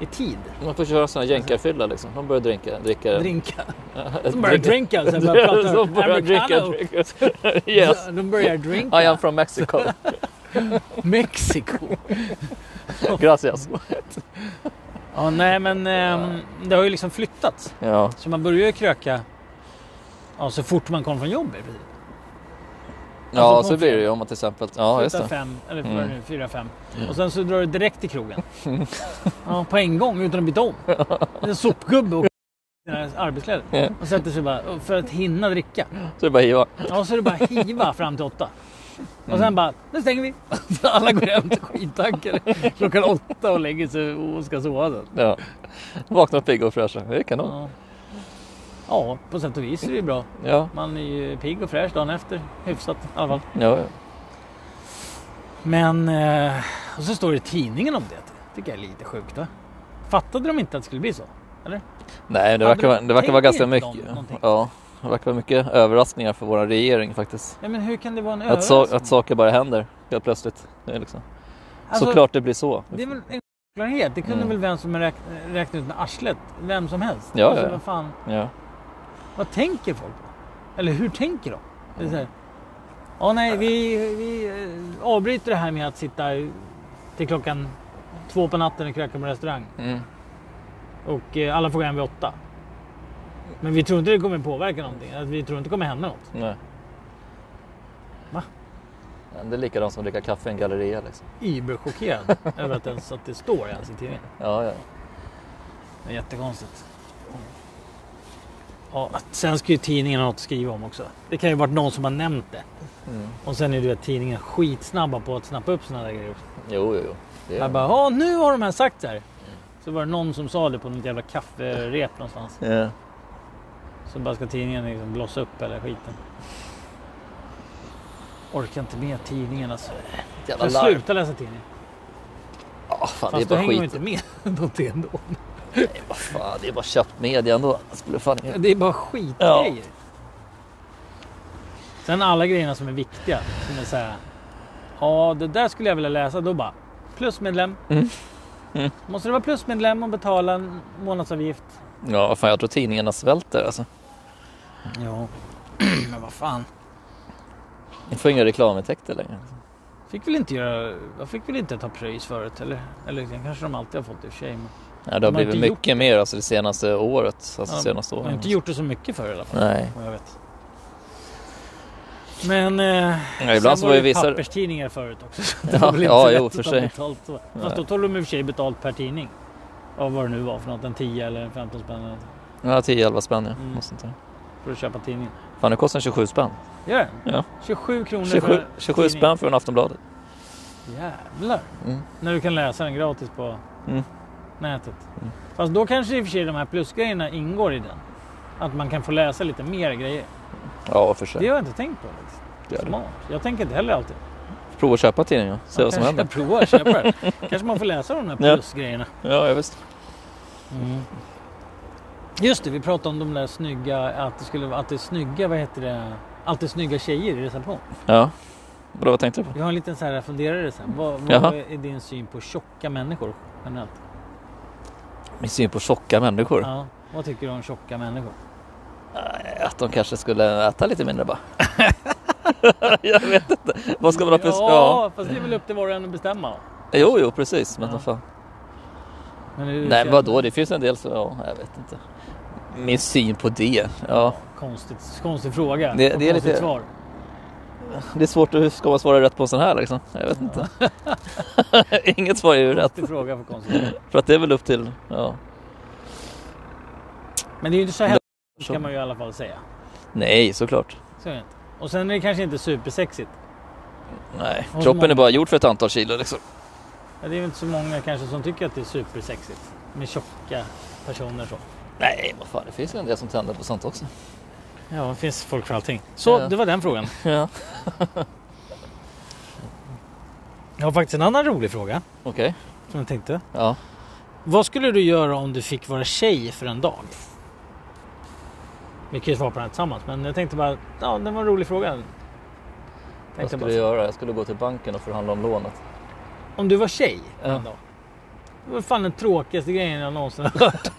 Speaker 1: i tid.
Speaker 2: Man får köra sådana jänkarfylla liksom. De börjar drinka. [laughs]
Speaker 1: [laughs]
Speaker 2: dricka.
Speaker 1: Drinka.
Speaker 2: De
Speaker 1: De börjar drinka. Så
Speaker 2: [laughs]
Speaker 1: jag bara pratar
Speaker 2: De börjar dricka.
Speaker 1: americano.
Speaker 2: dricka. [laughs] Yes.
Speaker 1: De börjar drinka.
Speaker 2: I am
Speaker 1: [laughs]
Speaker 2: from Mexico.
Speaker 1: Mexiko.
Speaker 2: Gracias.
Speaker 1: Ja, nej, men ehm, det har ju liksom flyttats.
Speaker 2: Ja.
Speaker 1: Så man börjar ju kröka Ja, så fort man kom från jobbet. precis.
Speaker 2: Ja,
Speaker 1: på
Speaker 2: så blir det ju om man till exempel... Ja, just
Speaker 1: Slutar
Speaker 2: det.
Speaker 1: fem, eller vad
Speaker 2: Mm.
Speaker 1: är det nu, fyra, fem. Och sen så drar du direkt till [laughs] krogen. Ja, på en gång utan att byta om. En sopgubbe och sina arbetskläder.
Speaker 2: Ja.
Speaker 1: Och sätter sig bara för att hinna dricka.
Speaker 2: Så det är bara att hiva.
Speaker 1: Ja, och så är det bara hiva fram till åtta. Och
Speaker 2: Mm.
Speaker 1: sen bara, nu stänger vi. [laughs] Alla går hem till skidtankar klockan åtta och lägger sig och ska sova sen.
Speaker 2: Ja. Vaknar pigga och fräscha. Det är kanon.
Speaker 1: Ja. ja, på sätt och vis är det ju bra.
Speaker 2: Ja,
Speaker 1: Man är ju pigg och fräsch dagen efter. Hyfsat i alla fall.
Speaker 2: ja, ja.
Speaker 1: Men, eh, och så står det i tidningen om det. tycker jag är lite sjukt va? Fattade de inte att det skulle bli så?
Speaker 2: Nej, det
Speaker 1: Hade
Speaker 2: verkar, vara- det verkar vara
Speaker 1: tänker
Speaker 2: ganska
Speaker 1: inte de
Speaker 2: mycket.
Speaker 1: någonting?
Speaker 2: Ja, det verkar vara mycket överraskningar för vår regering faktiskt.
Speaker 1: Ja, men hur kan det vara en
Speaker 2: Att, sa-
Speaker 1: överraskning?
Speaker 2: att saker bara händer helt plötsligt. Det är liksom.
Speaker 1: Alltså,
Speaker 2: Såklart det blir så.
Speaker 1: Det är väl en självklarhet. Det kunde
Speaker 2: Mm.
Speaker 1: väl vem som helst räkna, räkna ut med arslet. Vem som helst.
Speaker 2: Ja,
Speaker 1: alltså,
Speaker 2: ja, ja.
Speaker 1: Vad, fan,
Speaker 2: Ja.
Speaker 1: vad tänker folk på? Eller hur tänker de? Det är så här, ja, nej, vi, vi eh, avbryter det här med att sitta till klockan två på natten och kröka på restaurang.
Speaker 2: Mm.
Speaker 1: Och eh, alla får gå hem vid åtta. Men vi tror inte det kommer påverka någonting. Att vi tror inte det kommer hända något.
Speaker 2: Nej.
Speaker 1: Va?
Speaker 2: Ja, Det är likadant som att dricka kaffe i en galleria. Liksom.
Speaker 1: [laughs] Iberchockerad över att, ens, att det står ens i tidningen.
Speaker 2: Ja, ja.
Speaker 1: Det är jättekonstigt. Ja, att- sen ska ju tidningen ha något att skriva om också. Det kan ju varit någon som har nämnt det.
Speaker 2: Mm.
Speaker 1: Och sen är du vet tidningen skitsnabba på att snappa upp sådana där grejer. också.
Speaker 2: Jo, jo, jo. Det
Speaker 1: Jag bara, ja nu har de här sagt så här. Så var det någon som sa det på något jävla kafferep någonstans.
Speaker 2: Ja.
Speaker 1: Så bara ska tidningen liksom blossa upp eller skiten. Orkar inte med tidningen alltså.
Speaker 2: Jävla
Speaker 1: Jag
Speaker 2: larv.
Speaker 1: slutar läsa tidningen.
Speaker 2: Ja, fan, det är
Speaker 1: Fast då
Speaker 2: bara
Speaker 1: hänger man ju
Speaker 2: skit.
Speaker 1: inte med [laughs] någonting ändå.
Speaker 2: Vad Fan, det är bara köpt media ändå. Jag Skulle fan...
Speaker 1: Ja, Det är bara skitgrejer. Sen alla grejerna som är viktiga. Som är så här. Ja, det där skulle jag vilja läsa. Då bara. Plusmedlem.
Speaker 2: Mm. Mm.
Speaker 1: Måste du vara plusmedlem och betala en månadsavgift?
Speaker 2: Ja, vad fan, jag tror tidningarna svälter alltså.
Speaker 1: Ja. [clears throat] Men vad fan.
Speaker 2: De får inga reklamintäkter längre.
Speaker 1: Fick väl inte göra... Jag fick väl inte ta pröjs förut? Eller, eller det kanske de alltid har fått i och för sig. Men
Speaker 2: Ja,
Speaker 1: De
Speaker 2: det har
Speaker 1: har
Speaker 2: blivit
Speaker 1: inte gjort
Speaker 2: mycket mer alltså, det senaste året. Alltså
Speaker 1: Ja,
Speaker 2: senaste
Speaker 1: de
Speaker 2: åren.
Speaker 1: har inte gjort det så mycket förr i alla fall.
Speaker 2: Nej.
Speaker 1: Vad jag vet. Men... Eh,
Speaker 2: Ja, ibland så var ju vissa...
Speaker 1: papperstidningar förut också. Så
Speaker 2: Ja,
Speaker 1: det var väl inte
Speaker 2: ja,
Speaker 1: så lätt
Speaker 2: jo,
Speaker 1: att
Speaker 2: för
Speaker 1: ta
Speaker 2: sig.
Speaker 1: Betalt. så.
Speaker 2: Nej.
Speaker 1: Fast då tog de i och för sig betalt per tidning. Av vad det nu var för något. En 10 eller en 15 spänn eller något,
Speaker 2: Ja, 10-11 spänn ja.
Speaker 1: Mm.
Speaker 2: Något sånt där.
Speaker 1: för att köpa tidningen.
Speaker 2: Fan, det kostar 27 spänn.
Speaker 1: Gör det?
Speaker 2: Ja.
Speaker 1: 27 kronor
Speaker 2: 27,
Speaker 1: för
Speaker 2: 27
Speaker 1: tidning.
Speaker 2: spänn för en Aftonbladet.
Speaker 1: Jävlar.
Speaker 2: Mm.
Speaker 1: När du kan läsa den gratis på
Speaker 2: Mm.
Speaker 1: nätet. Fast då kanske i och för sig de här plusgrejerna ingår i den. Att man kan få läsa lite mer grejer.
Speaker 2: Ja, för
Speaker 1: Det
Speaker 2: sig.
Speaker 1: har jag inte tänkt på. faktiskt.
Speaker 2: Det är det.
Speaker 1: Smart. Jag tänker inte heller alltid.
Speaker 2: Prova att köpa tidningen. Se
Speaker 1: Man
Speaker 2: vad som
Speaker 1: kanske
Speaker 2: händer.
Speaker 1: ska prova att köpa den.
Speaker 2: [laughs]
Speaker 1: kanske man får läsa de här
Speaker 2: Ja.
Speaker 1: plusgrejerna.
Speaker 2: Ja, ja, visst.
Speaker 1: Mm. Just det, vi pratade om de där snygga, att det skulle vara- att det är snygga, vad heter det, alltid snygga tjejer i reception.
Speaker 2: Ja. Vadå, vad tänkte du på?
Speaker 1: Jag har en liten så här funderare sen. Vad,
Speaker 2: Jaha.
Speaker 1: vad är din syn på tjocka människor generellt?
Speaker 2: Min syn på tjocka människor.
Speaker 1: Ja, vad tycker du om tjocka människor?
Speaker 2: Att de kanske skulle äta lite mindre bara. jag vet inte. Vad ska man ha för... Ja.
Speaker 1: ja, fast det är väl upp till var och en att bestämma.
Speaker 2: Jo, jo, precis. Men
Speaker 1: Ja.
Speaker 2: vad fan.
Speaker 1: Men hur
Speaker 2: Nej,
Speaker 1: känner-
Speaker 2: men vadå? Det finns en del så... Ja, jag vet inte. Min syn på det. Ja.
Speaker 1: Konstigt, konstig fråga.
Speaker 2: Det-
Speaker 1: och
Speaker 2: det är
Speaker 1: konstigt
Speaker 2: lite-
Speaker 1: svar.
Speaker 2: Det är svårt att hur ska man svara rätt på en sån här liksom. Jag vet inte. [laughs] Inget svar är ju rätt.
Speaker 1: Konstig fråga för konstigt svar.
Speaker 2: För att det är väl upp till... Ja.
Speaker 1: Men det är ju inte så här
Speaker 2: Så-
Speaker 1: kan man ju i alla fall säga.
Speaker 2: Nej, såklart.
Speaker 1: Så är det inte. Och sen är det kanske inte supersexigt.
Speaker 2: Nej,
Speaker 1: Och
Speaker 2: kroppen
Speaker 1: många-
Speaker 2: är bara gjord för ett antal kilo liksom.
Speaker 1: Ja, det är väl inte så många kanske som tycker att det är supersexigt med tjocka personer så.
Speaker 2: Nej, vad fan. Det finns ju en del som tänder på sånt också.
Speaker 1: Ja, det finns folk för allting. Så
Speaker 2: Ja.
Speaker 1: det var den frågan.
Speaker 2: [laughs] Ja.
Speaker 1: Jag har faktiskt en annan rolig fråga
Speaker 2: Okej.
Speaker 1: som jag tänkte.
Speaker 2: Ja.
Speaker 1: Vad skulle du göra om du fick vara tjej för en dag? Vi kan ju svara på den här tillsammans, men jag tänkte bara, ja, det var en rolig fråga.
Speaker 2: Vad
Speaker 1: Tänkte
Speaker 2: skulle
Speaker 1: bara,
Speaker 2: jag göra? Jag skulle gå till banken och förhandla om lånet.
Speaker 1: Om du var tjej för
Speaker 2: Ja.
Speaker 1: en dag. Det var fan den tråkigaste grejen jag någonsin har hört.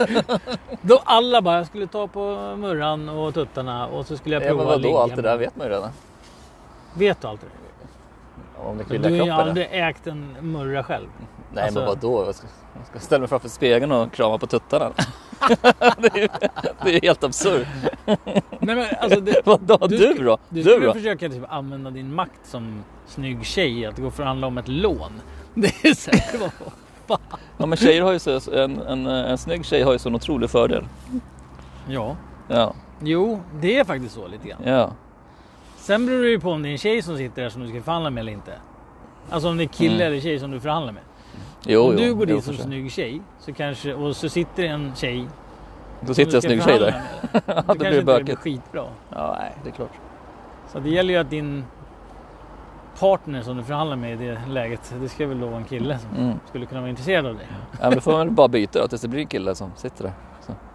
Speaker 1: [laughs] Då alla bara, jag skulle ta på murran och tuttarna och så skulle jag
Speaker 2: Ja, men
Speaker 1: prova att ligga.
Speaker 2: vadå? Allt det
Speaker 1: med-
Speaker 2: där vet man ju redan.
Speaker 1: Vet du allt det där?
Speaker 2: Om det
Speaker 1: Du
Speaker 2: killar
Speaker 1: har ju
Speaker 2: kropp eller?
Speaker 1: aldrig ägt en murra själv.
Speaker 2: Nej
Speaker 1: alltså-
Speaker 2: men vadå? Jag ska, jag ska ställa mig framför spegeln och krama på tuttarna. [laughs] det, är, ju- det är helt absurt.
Speaker 1: Nej, men, alltså, det,
Speaker 2: Vadå?
Speaker 1: Du
Speaker 2: Du,
Speaker 1: ska-
Speaker 2: då?
Speaker 1: Du
Speaker 2: Du,
Speaker 1: skulle
Speaker 2: då?
Speaker 1: försöka typ använda din makt som snygg tjej att gå och förhandla om ett lån. [laughs] Det är säkert vad...
Speaker 2: Ja men tjejer har ju så, en, en, eh, en snygg tjej har ju sån otrolig fördel.
Speaker 1: Ja.
Speaker 2: Ja,
Speaker 1: Jo, det är faktiskt så lite grann.
Speaker 2: ja.
Speaker 1: Sen beror det ju på om det är en tjej som sitter där som du ska förhandla med eller inte. Alltså om det är kille
Speaker 2: Mm.
Speaker 1: eller tjej som du förhandlar med.
Speaker 2: Jo,
Speaker 1: om du
Speaker 2: jo,
Speaker 1: går
Speaker 2: jo,
Speaker 1: dit
Speaker 2: för
Speaker 1: som
Speaker 2: sig.
Speaker 1: snygg tjej så kanske, och så sitter det en tjej. som
Speaker 2: Då
Speaker 1: du
Speaker 2: sitter en
Speaker 1: ska
Speaker 2: snygg tjej där.
Speaker 1: förhandla med. Då
Speaker 2: [laughs]
Speaker 1: kanske
Speaker 2: blir
Speaker 1: inte det blir
Speaker 2: bökigt.
Speaker 1: skitbra.
Speaker 2: Ja, nej, det är klart.
Speaker 1: Så det gäller ju att din partner som du förhandlar med i det läget, det ska väl då vara en kille som
Speaker 2: Mm.
Speaker 1: skulle kunna vara intresserad av dig.
Speaker 2: Ja, men då får man väl bara byta då tills det blir en kille som sitter där.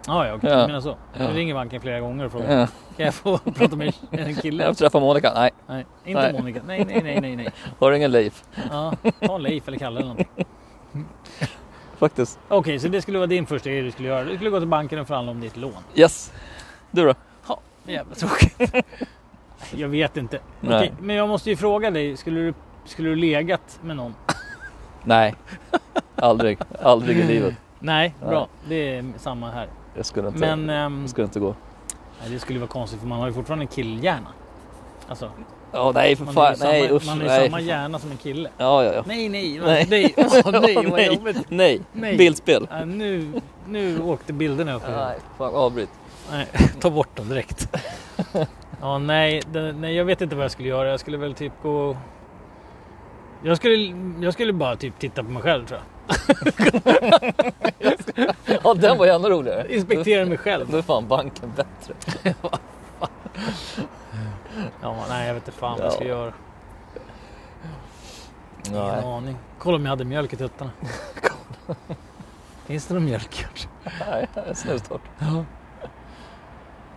Speaker 1: Ah, ja, okej.
Speaker 2: Ja.
Speaker 1: Du menar så. Du
Speaker 2: Ja.
Speaker 1: ringer banken flera gånger och frågar.
Speaker 2: Ja.
Speaker 1: Kan jag få [laughs] prata med en
Speaker 2: Jag
Speaker 1: kille?
Speaker 2: vill träffa Monica. Nej,
Speaker 1: Nej, inte
Speaker 2: Nej.
Speaker 1: Monica. Nej, nej, nej, nej, nej.
Speaker 2: har du ingen Leif?
Speaker 1: Ja, ta Leif eller Kalle eller någonting.
Speaker 2: Faktiskt.
Speaker 1: Okej, så det skulle vara din första grej du skulle göra. Du skulle gå till banken och förhandla om ditt lån.
Speaker 2: Yes. Du då?
Speaker 1: Ja, jävla tråkigt.
Speaker 2: [laughs]
Speaker 1: Jag vet inte.
Speaker 2: Nej.
Speaker 1: Okej, men jag måste ju fråga dig. Skulle du, skulle du legat med någon?
Speaker 2: Nej. Aldrig. Aldrig i livet.
Speaker 1: Nej,
Speaker 2: Nej.
Speaker 1: bra. Det är samma här.
Speaker 2: Jag skulle inte,
Speaker 1: Men ehm,
Speaker 2: det skulle inte gå.
Speaker 1: nej, det skulle vara konstigt för man har ju fortfarande en killhjärna. Alltså,
Speaker 2: Ja, nej för
Speaker 1: man har
Speaker 2: fan.
Speaker 1: ju
Speaker 2: Nej,
Speaker 1: samma,
Speaker 2: usch.
Speaker 1: man har ju
Speaker 2: nej,
Speaker 1: samma
Speaker 2: för fan.
Speaker 1: hjärna som en kille.
Speaker 2: Ja, ja, ja.
Speaker 1: Nej, nej, nej,
Speaker 2: Nej.
Speaker 1: [laughs] nej, åh, nej
Speaker 2: Åh,
Speaker 1: vad
Speaker 2: nej.
Speaker 1: jobbigt.
Speaker 2: Nej.
Speaker 1: Nej.
Speaker 2: Bildspel.
Speaker 1: Ja, nu, nu åkte bilderna upp.
Speaker 2: Nej, fan avbryt.
Speaker 1: Nej, [laughs] ta bort dem direkt.
Speaker 2: [laughs]
Speaker 1: Ja, nej, det, nej, jag vet inte vad jag skulle göra. Jag skulle väl typ gå... Jag skulle, jag skulle bara typ titta på mig själv tror jag.
Speaker 2: Ja, den var ju ännu roligare.
Speaker 1: Inspektera mig själv.
Speaker 2: [laughs] Då är fan banken bättre.
Speaker 1: Ja, nej, jag vet inte fan vad jag ska
Speaker 2: Ja.
Speaker 1: göra. Ingen
Speaker 2: Nej.
Speaker 1: aning. Kolla om jag hade mjölk i
Speaker 2: [laughs]
Speaker 1: tuttarna. Finns det någon mjölk kanske?
Speaker 2: Nej, det är snustorrt.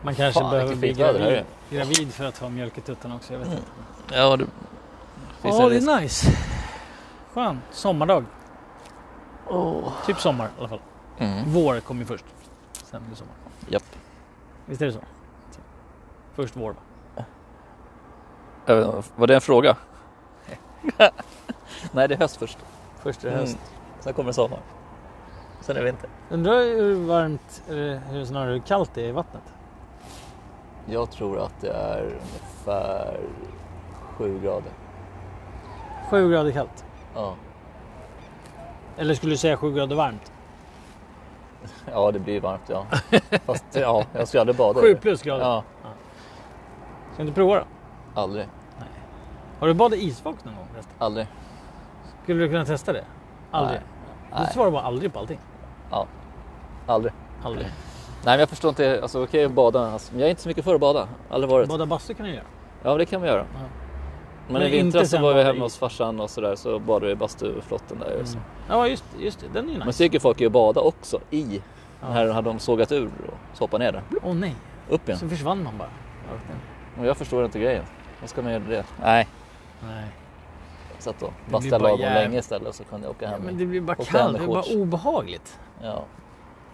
Speaker 1: Man kanske
Speaker 2: Fan,
Speaker 1: behöver
Speaker 2: vilket
Speaker 1: bli
Speaker 2: fint väder här
Speaker 1: gravid, gravid för att ha mjölk i tuttarna också. Jag vet inte.
Speaker 2: Ja, du. Finns
Speaker 1: Ja,
Speaker 2: en
Speaker 1: det
Speaker 2: risk?
Speaker 1: är nice. Skön sommardag. Typ sommar i alla fall.
Speaker 2: Mm.
Speaker 1: Vår kom ju först. Sen blev det sommar.
Speaker 2: Japp.
Speaker 1: Visst är det så? Först vår va?
Speaker 2: Jag vet inte, Äh, Var det en fråga? [laughs] Nej, det är höst först.
Speaker 1: Först är
Speaker 2: Mm. Sen kommer sommar. Sen är vinter.
Speaker 1: Undrar hur varmt, eller hur snarare hur kallt det är i vattnet?
Speaker 2: Jag tror att det är ungefär 7 grader.
Speaker 1: Sju grader kallt.
Speaker 2: Ja,
Speaker 1: Eller skulle du säga sju grader varmt?
Speaker 2: ja det blir varmt ja. Fast ja, jag skulle aldrig bada i
Speaker 1: Sju
Speaker 2: det.
Speaker 1: plus grader.
Speaker 2: Ja,
Speaker 1: Ska du inte prova då?
Speaker 2: aldrig.
Speaker 1: Har du badat isvak någon gång förresten?
Speaker 2: Aldrig.
Speaker 1: Skulle du kunna testa det? Aldrig?
Speaker 2: Nej.
Speaker 1: Du svarar bara aldrig på allting.
Speaker 2: Ja, aldrig. [laughs]
Speaker 1: Aldrig.
Speaker 2: Nej, men jag förstår inte. Alltså okej att bada. Alltså, men jag är inte så mycket för att bada. Aldrig varit.
Speaker 1: Bada bastu kan du göra.
Speaker 2: Ja, det kan vi göra.
Speaker 1: Ja.
Speaker 2: Men,
Speaker 1: Men
Speaker 2: i vintras
Speaker 1: inte
Speaker 2: så
Speaker 1: sen
Speaker 2: var vi
Speaker 1: bada i.
Speaker 2: hemma hos farsan och sådär så badade vi i bastuflotten där. och så.
Speaker 1: Mm. Ja just, just det, den är ju
Speaker 2: Men
Speaker 1: nice.
Speaker 2: så gick ju folk ju och bada också i.
Speaker 1: Ja.
Speaker 2: Den här hade de sågat ur och så hoppade ner där.
Speaker 1: Åh nej,
Speaker 2: Upp igen.
Speaker 1: så försvann man bara.
Speaker 2: Och jag förstår inte grejen. Vad ska man göra det? Nej.
Speaker 1: Nej.
Speaker 2: Satt och
Speaker 1: blir
Speaker 2: bastade
Speaker 1: bara
Speaker 2: lagom
Speaker 1: jävligt-
Speaker 2: länge istället så kunde jag åka
Speaker 1: Ja,
Speaker 2: hem.
Speaker 1: men det blir bara
Speaker 2: Och
Speaker 1: kallt, det är bara
Speaker 2: bandyshorts.
Speaker 1: obehagligt.
Speaker 2: Ja. [laughs]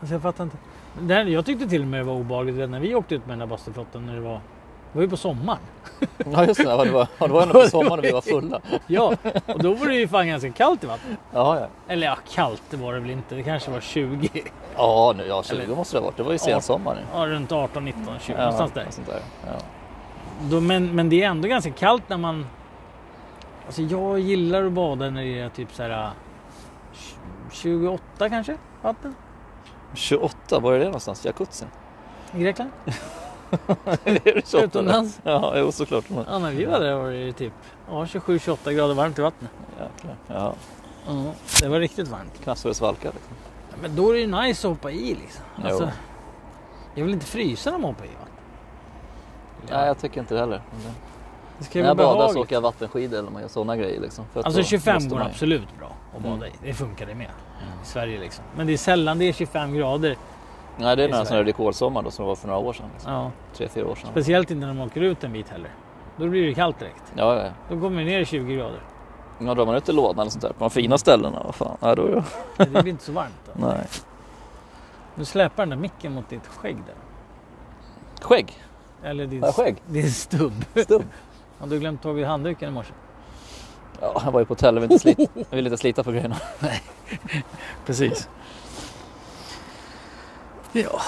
Speaker 1: Alltså jag fattar inte. Det här, jag tyckte till och med det var obehagligt vet, när vi åkte ut med den där bastuflotten när det var... Det var ju på [laughs] sommaren.
Speaker 2: ja, just det. Ja, Det var, ja, det var ändå på sommaren och vi var fulla.
Speaker 1: [laughs] Ja, och då var det ju fan ganska kallt i vattnet.
Speaker 2: Ja, ja.
Speaker 1: Eller ja, kallt det var det väl inte. Det kanske var 20.
Speaker 2: Ja, nu, ja 20
Speaker 1: Eller-
Speaker 2: måste det ha varit. Det var ju sensommar nu.
Speaker 1: Ja, runt 18, 19, 20
Speaker 2: Ja,
Speaker 1: någonstans där.
Speaker 2: något sånt där. Ja.
Speaker 1: Då, men, men det är ändå ganska kallt när man... Alltså jag gillar att bada när det är typ så här... äh, 28 kanske? Vatten?
Speaker 2: 28, var är det någonstans? Jakutsin?
Speaker 1: I Grekland?
Speaker 2: Eller är [laughs] det 28?
Speaker 1: Utomlands?
Speaker 2: Ja, jo, såklart. Men,
Speaker 1: Ja, när vi var där var det ju typ ja, 27-28 grader varmt i vattnet.
Speaker 2: jäklar. Ja,
Speaker 1: Ja, det var riktigt varmt.
Speaker 2: knappt så det svalkar. Liksom.
Speaker 1: Ja, Men då är det ju nice att hoppa i liksom.
Speaker 2: Jo.
Speaker 1: Alltså, jag vill inte frysa när man hoppar i vatten.
Speaker 2: Nej, jag tycker inte det heller. Men det-
Speaker 1: Det ska ju
Speaker 2: När jag
Speaker 1: vara
Speaker 2: badar så
Speaker 1: behagligt.
Speaker 2: åker jag vattenskidor eller man gör sådana grejer. Liksom, för att
Speaker 1: Alltså
Speaker 2: då
Speaker 1: 25
Speaker 2: måste Mm.
Speaker 1: går
Speaker 2: man-
Speaker 1: absolut bra att bada i. Det funkar det med.
Speaker 2: Mm.
Speaker 1: I Sverige liksom. Men det är sällan det är 25 grader.
Speaker 2: Nej, det är
Speaker 1: i
Speaker 2: några sån
Speaker 1: Sverige.
Speaker 2: här rekordsommar då, som det var för några år sedan. Liksom.
Speaker 1: Ja.
Speaker 2: Tre, fyra år sedan.
Speaker 1: Speciellt inte när man åker ut en bit heller. Då blir det kallt direkt.
Speaker 2: Ja, ja, ja.
Speaker 1: Då kommer vi ner i 20 grader.
Speaker 2: [laughs] Ja, drar man ut i lådan eller sånt där på de fina ställena, vad fan. Nej, då är det...
Speaker 1: Det blir inte så varmt. Då.
Speaker 2: Nej.
Speaker 1: Nu släpar den där micken mot ditt skägg där.
Speaker 2: Skägg?
Speaker 1: Eller din,
Speaker 2: Har jag skägg?
Speaker 1: din stubb.
Speaker 2: Stubb?
Speaker 1: Har du glömt tagit handduken i morse?
Speaker 2: Ja, jag var ju på hotell, jag ville inte slita, jag ville inte slita på grejerna.
Speaker 1: Precis. Ja.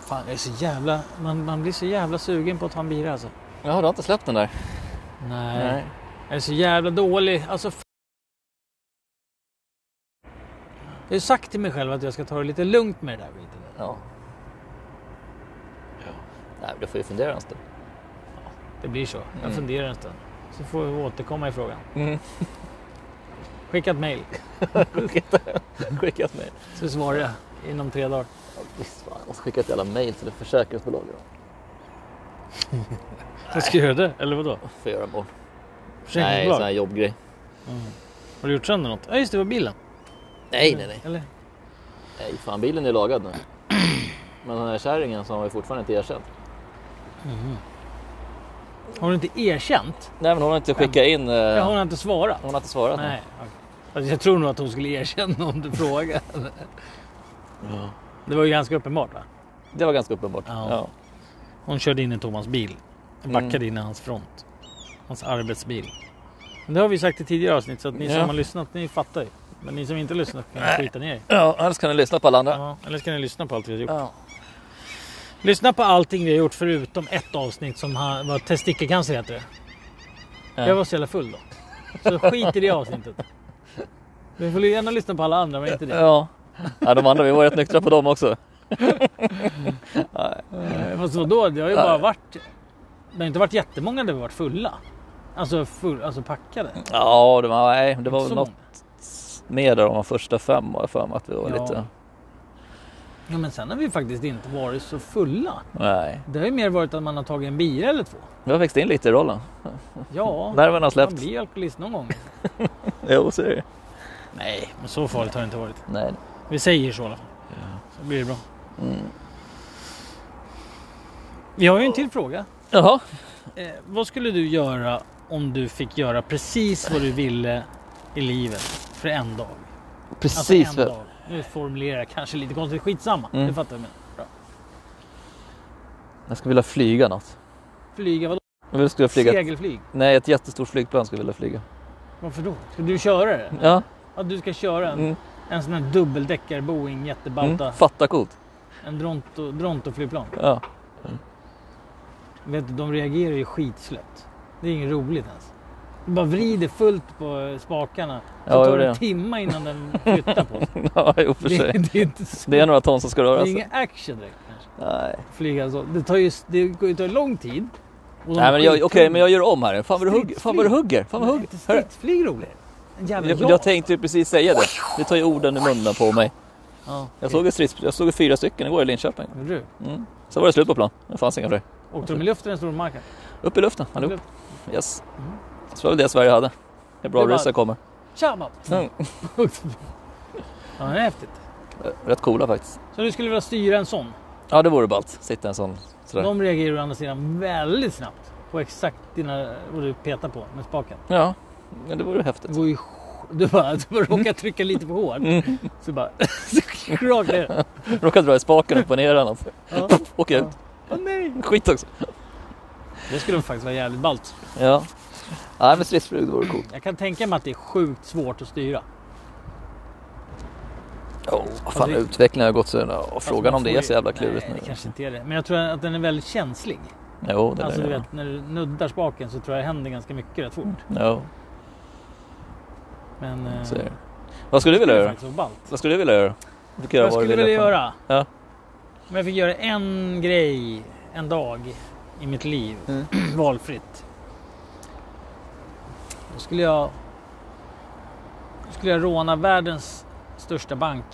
Speaker 1: Fan, jag är så jävla... Man, man blir så jävla sugen på att ta en bira alltså.
Speaker 2: Ja, du har inte släppt den där?
Speaker 1: Nej. Jag är så jävla dålig. Alltså... f- Jag har ju sagt till mig själv att jag ska ta det lite lugnt med det där biten.
Speaker 2: Ja. Nej, men du får ju fundera en stund.
Speaker 1: Det blir så. Jag
Speaker 2: Mm.
Speaker 1: funderar en stund. Så får vi återkomma i frågan.
Speaker 2: Mm.
Speaker 1: Skicka ett mejl.
Speaker 2: Skicka ett mejl.
Speaker 1: Så svarar jag inom tre dagar.
Speaker 2: Ja, visst fan, jag måste skicka ett jävla mejl till ett försäkringsbolag idag.
Speaker 1: Så ska jag göra det? Eller vadå?
Speaker 2: Får jag göra imorgon. Nej,
Speaker 1: Försäkringsbolag?
Speaker 2: sån här jobbgrej.
Speaker 1: Har du gjort sönder något? Ja just det, det var bilen.
Speaker 2: Nej, nej, nej.
Speaker 1: Eller?
Speaker 2: Nej, fan bilen är lagad nu. Men den här kärringen som har ju fortfarande inte erkänt.
Speaker 1: Har du inte erkänt?
Speaker 2: Nej, men hon har inte skickat in... eh,
Speaker 1: Ja. Hon har inte svarat?
Speaker 2: Hon har inte svarat.
Speaker 1: Nej. okej. Alltså, jag tror nog att hon skulle erkänna om du frågade.
Speaker 2: [laughs] Ja.
Speaker 1: Det var ju ganska uppenbart va?
Speaker 2: Det var ganska uppenbart.
Speaker 1: Ja. Hon körde in i Thomas bil.
Speaker 2: Mm.
Speaker 1: Backade in i hans front. Hans arbetsbil. Men det har vi ju sagt i tidigare avsnitt så att ni
Speaker 2: Ja.
Speaker 1: som har lyssnat ni fattar ju. Men ni som inte har lyssnat kan ju skita ner er.
Speaker 2: ja, annars kan ni lyssna på alla andra.
Speaker 1: ja. Eller ska ni lyssna på allt vi har gjort?
Speaker 2: Ja.
Speaker 1: Lyssna på allting vi har gjort förutom ett avsnitt som ha- var testikelcancer heter det.
Speaker 2: Ja.
Speaker 1: Jag var så jävla full då. Så skit i det
Speaker 2: [laughs]
Speaker 1: avsnittet. Du får gärna lyssna på alla andra men inte det.
Speaker 2: Ja. ja, de andra, vi var rätt nyktra på dem också.
Speaker 1: Eh, Fast vadå? Det har ju bara varit... Det har inte varit jättemånga där vi varit fulla. Alltså, full, alltså packade.
Speaker 2: Ja, det var, nej, det Mm, var
Speaker 1: Så
Speaker 2: väl
Speaker 1: många.
Speaker 2: något mer där de var första fem var jag för mig att vi var
Speaker 1: Ja.
Speaker 2: lite...
Speaker 1: Ja, men sen har vi faktiskt inte varit så fulla.
Speaker 2: Nej,
Speaker 1: Det har ju mer varit att man har tagit en bira eller två.
Speaker 2: vi har växt in lite i rollen. [laughs]
Speaker 1: Ja,
Speaker 2: Nerverna har
Speaker 1: man
Speaker 2: släppt.
Speaker 1: blir ju alkoholist någon gång.
Speaker 2: Jo, så är det
Speaker 1: Nej, men så farligt har det inte varit.
Speaker 2: Nej.
Speaker 1: Vi säger så i alla fall. Så blir det bra.
Speaker 2: Mm.
Speaker 1: Vi har ju en till fråga.
Speaker 2: Jaha,
Speaker 1: Eh, vad skulle du göra om du fick göra precis vad du ville i livet för en dag? Alltså
Speaker 2: precis.
Speaker 1: en
Speaker 2: vad-
Speaker 1: dag. Nu formulerar jag kanske lite konstigt. Skitsamma,
Speaker 2: Mm.
Speaker 1: du fattar jag men.
Speaker 2: jag skulle vilja flyga något.
Speaker 1: Flyga vadå?
Speaker 2: Jag vill- skulle flyga...
Speaker 1: Segelflyg?
Speaker 2: Nej, ett jättestort flygplan skulle jag vilja flyga.
Speaker 1: Varför då? Ska du köra det?
Speaker 2: Ja,
Speaker 1: Ja, du ska köra en,
Speaker 2: Mm.
Speaker 1: en sån här dubbeldäckare Boeing jättebalta.
Speaker 2: mm. fatta coolt.
Speaker 1: En Dronto, Drontoflygplan.
Speaker 2: Ja.
Speaker 1: Vet du, de reagerar ju skitslött. Det är inget roligt ens. De bara vrider fullt på eh, spakarna. Så
Speaker 2: Ja,
Speaker 1: tar
Speaker 2: jo,
Speaker 1: det
Speaker 2: det.
Speaker 1: en timme innan den flyttar
Speaker 2: [laughs]
Speaker 1: på sig.
Speaker 2: ja, jo för
Speaker 1: Det,
Speaker 2: sig.
Speaker 1: det är inte så.
Speaker 2: Det är några ton som ska
Speaker 1: Det
Speaker 2: röra
Speaker 1: är
Speaker 2: sig.
Speaker 1: ingen action direkt kanske.
Speaker 2: Nej,
Speaker 1: Flyga så. Det tar ju det går ju tar lång tid. Och de
Speaker 2: Nej men jag,
Speaker 1: skittunga.
Speaker 2: okej, men jag gör om här. Fan vad du hugger. Fan vad du hugger. Fan vad du
Speaker 1: Men är
Speaker 2: hugger.
Speaker 1: inte
Speaker 2: Hörru.
Speaker 1: Stridsflyg roligt. En jävla
Speaker 2: Jag,
Speaker 1: jag,
Speaker 2: jag tänkte ju precis säga det. Du tar ju orden i munnen på mig.
Speaker 1: Ja,
Speaker 2: Jag såg, ett strids, jag såg fyra stycken igår i Linköping.
Speaker 1: Men du,
Speaker 2: Mm. Sen var det slut på plan. Det fanns inga fler.
Speaker 1: åkte de i luften eller stod de i marken?
Speaker 2: Upp i luften allihop. Yes. Så var väl det Sverige hade. Det är bra
Speaker 1: Det var-
Speaker 2: ryssar kommer.
Speaker 1: Tja mamma! [laughs]
Speaker 2: Mm.
Speaker 1: ja, det är häftigt.
Speaker 2: [laughs] Rätt coola faktiskt.
Speaker 1: Så du skulle vilja styra en sån?
Speaker 2: Ja det vore ballt. Sitta i en sån. Sådär.
Speaker 1: De reagerar å andra sidan väldigt snabbt på exakt dina, vad du petar på med spaken.
Speaker 2: Ja. Men det vore
Speaker 1: Det
Speaker 2: häftigt.
Speaker 1: var ju sj- du bara, du bara
Speaker 2: Mm.
Speaker 1: råkar trycka lite för hårt. Så bara, [laughs] rakt ner.
Speaker 2: Råkade dra i spaken upp och ner annars.
Speaker 1: Ja.
Speaker 2: Åka ut.
Speaker 1: Åh, nej.
Speaker 2: Skit också.
Speaker 1: Det skulle faktiskt vara jävligt ballt.
Speaker 2: Ja. Nej men stridsflyg det vore coolt.
Speaker 1: Jag kan tänka mig att det är sjukt svårt att styra. Alltså,
Speaker 2: Oh, fan utvecklingen har gått så... ja, Frågan
Speaker 1: Alltså,
Speaker 2: om
Speaker 1: man får
Speaker 2: det är
Speaker 1: ju-
Speaker 2: så jävla klurigt
Speaker 1: Nej,
Speaker 2: nu.
Speaker 1: det kanske inte är det. Men jag tror att den är väldigt känslig.
Speaker 2: Jo det
Speaker 1: alltså
Speaker 2: är
Speaker 1: du
Speaker 2: det.
Speaker 1: vet, när du nuddar spaken så tror jag det händer ganska mycket rätt fort.
Speaker 2: Jo,
Speaker 1: Men eh,
Speaker 2: Mm. så är det. Vad skulle du vilja
Speaker 1: det är
Speaker 2: göra?
Speaker 1: faktiskt vara ballt.
Speaker 2: Vad skulle du vilja göra? Du kan göra
Speaker 1: Vad jag
Speaker 2: vad du
Speaker 1: skulle
Speaker 2: vill
Speaker 1: vilja
Speaker 2: fan.
Speaker 1: göra?
Speaker 2: Ja.
Speaker 1: Om jag fick göra en grej, en dag i mitt liv,
Speaker 2: Mm.
Speaker 1: [clears throat] valfritt. Då skulle jag... Då skulle jag råna världens största bank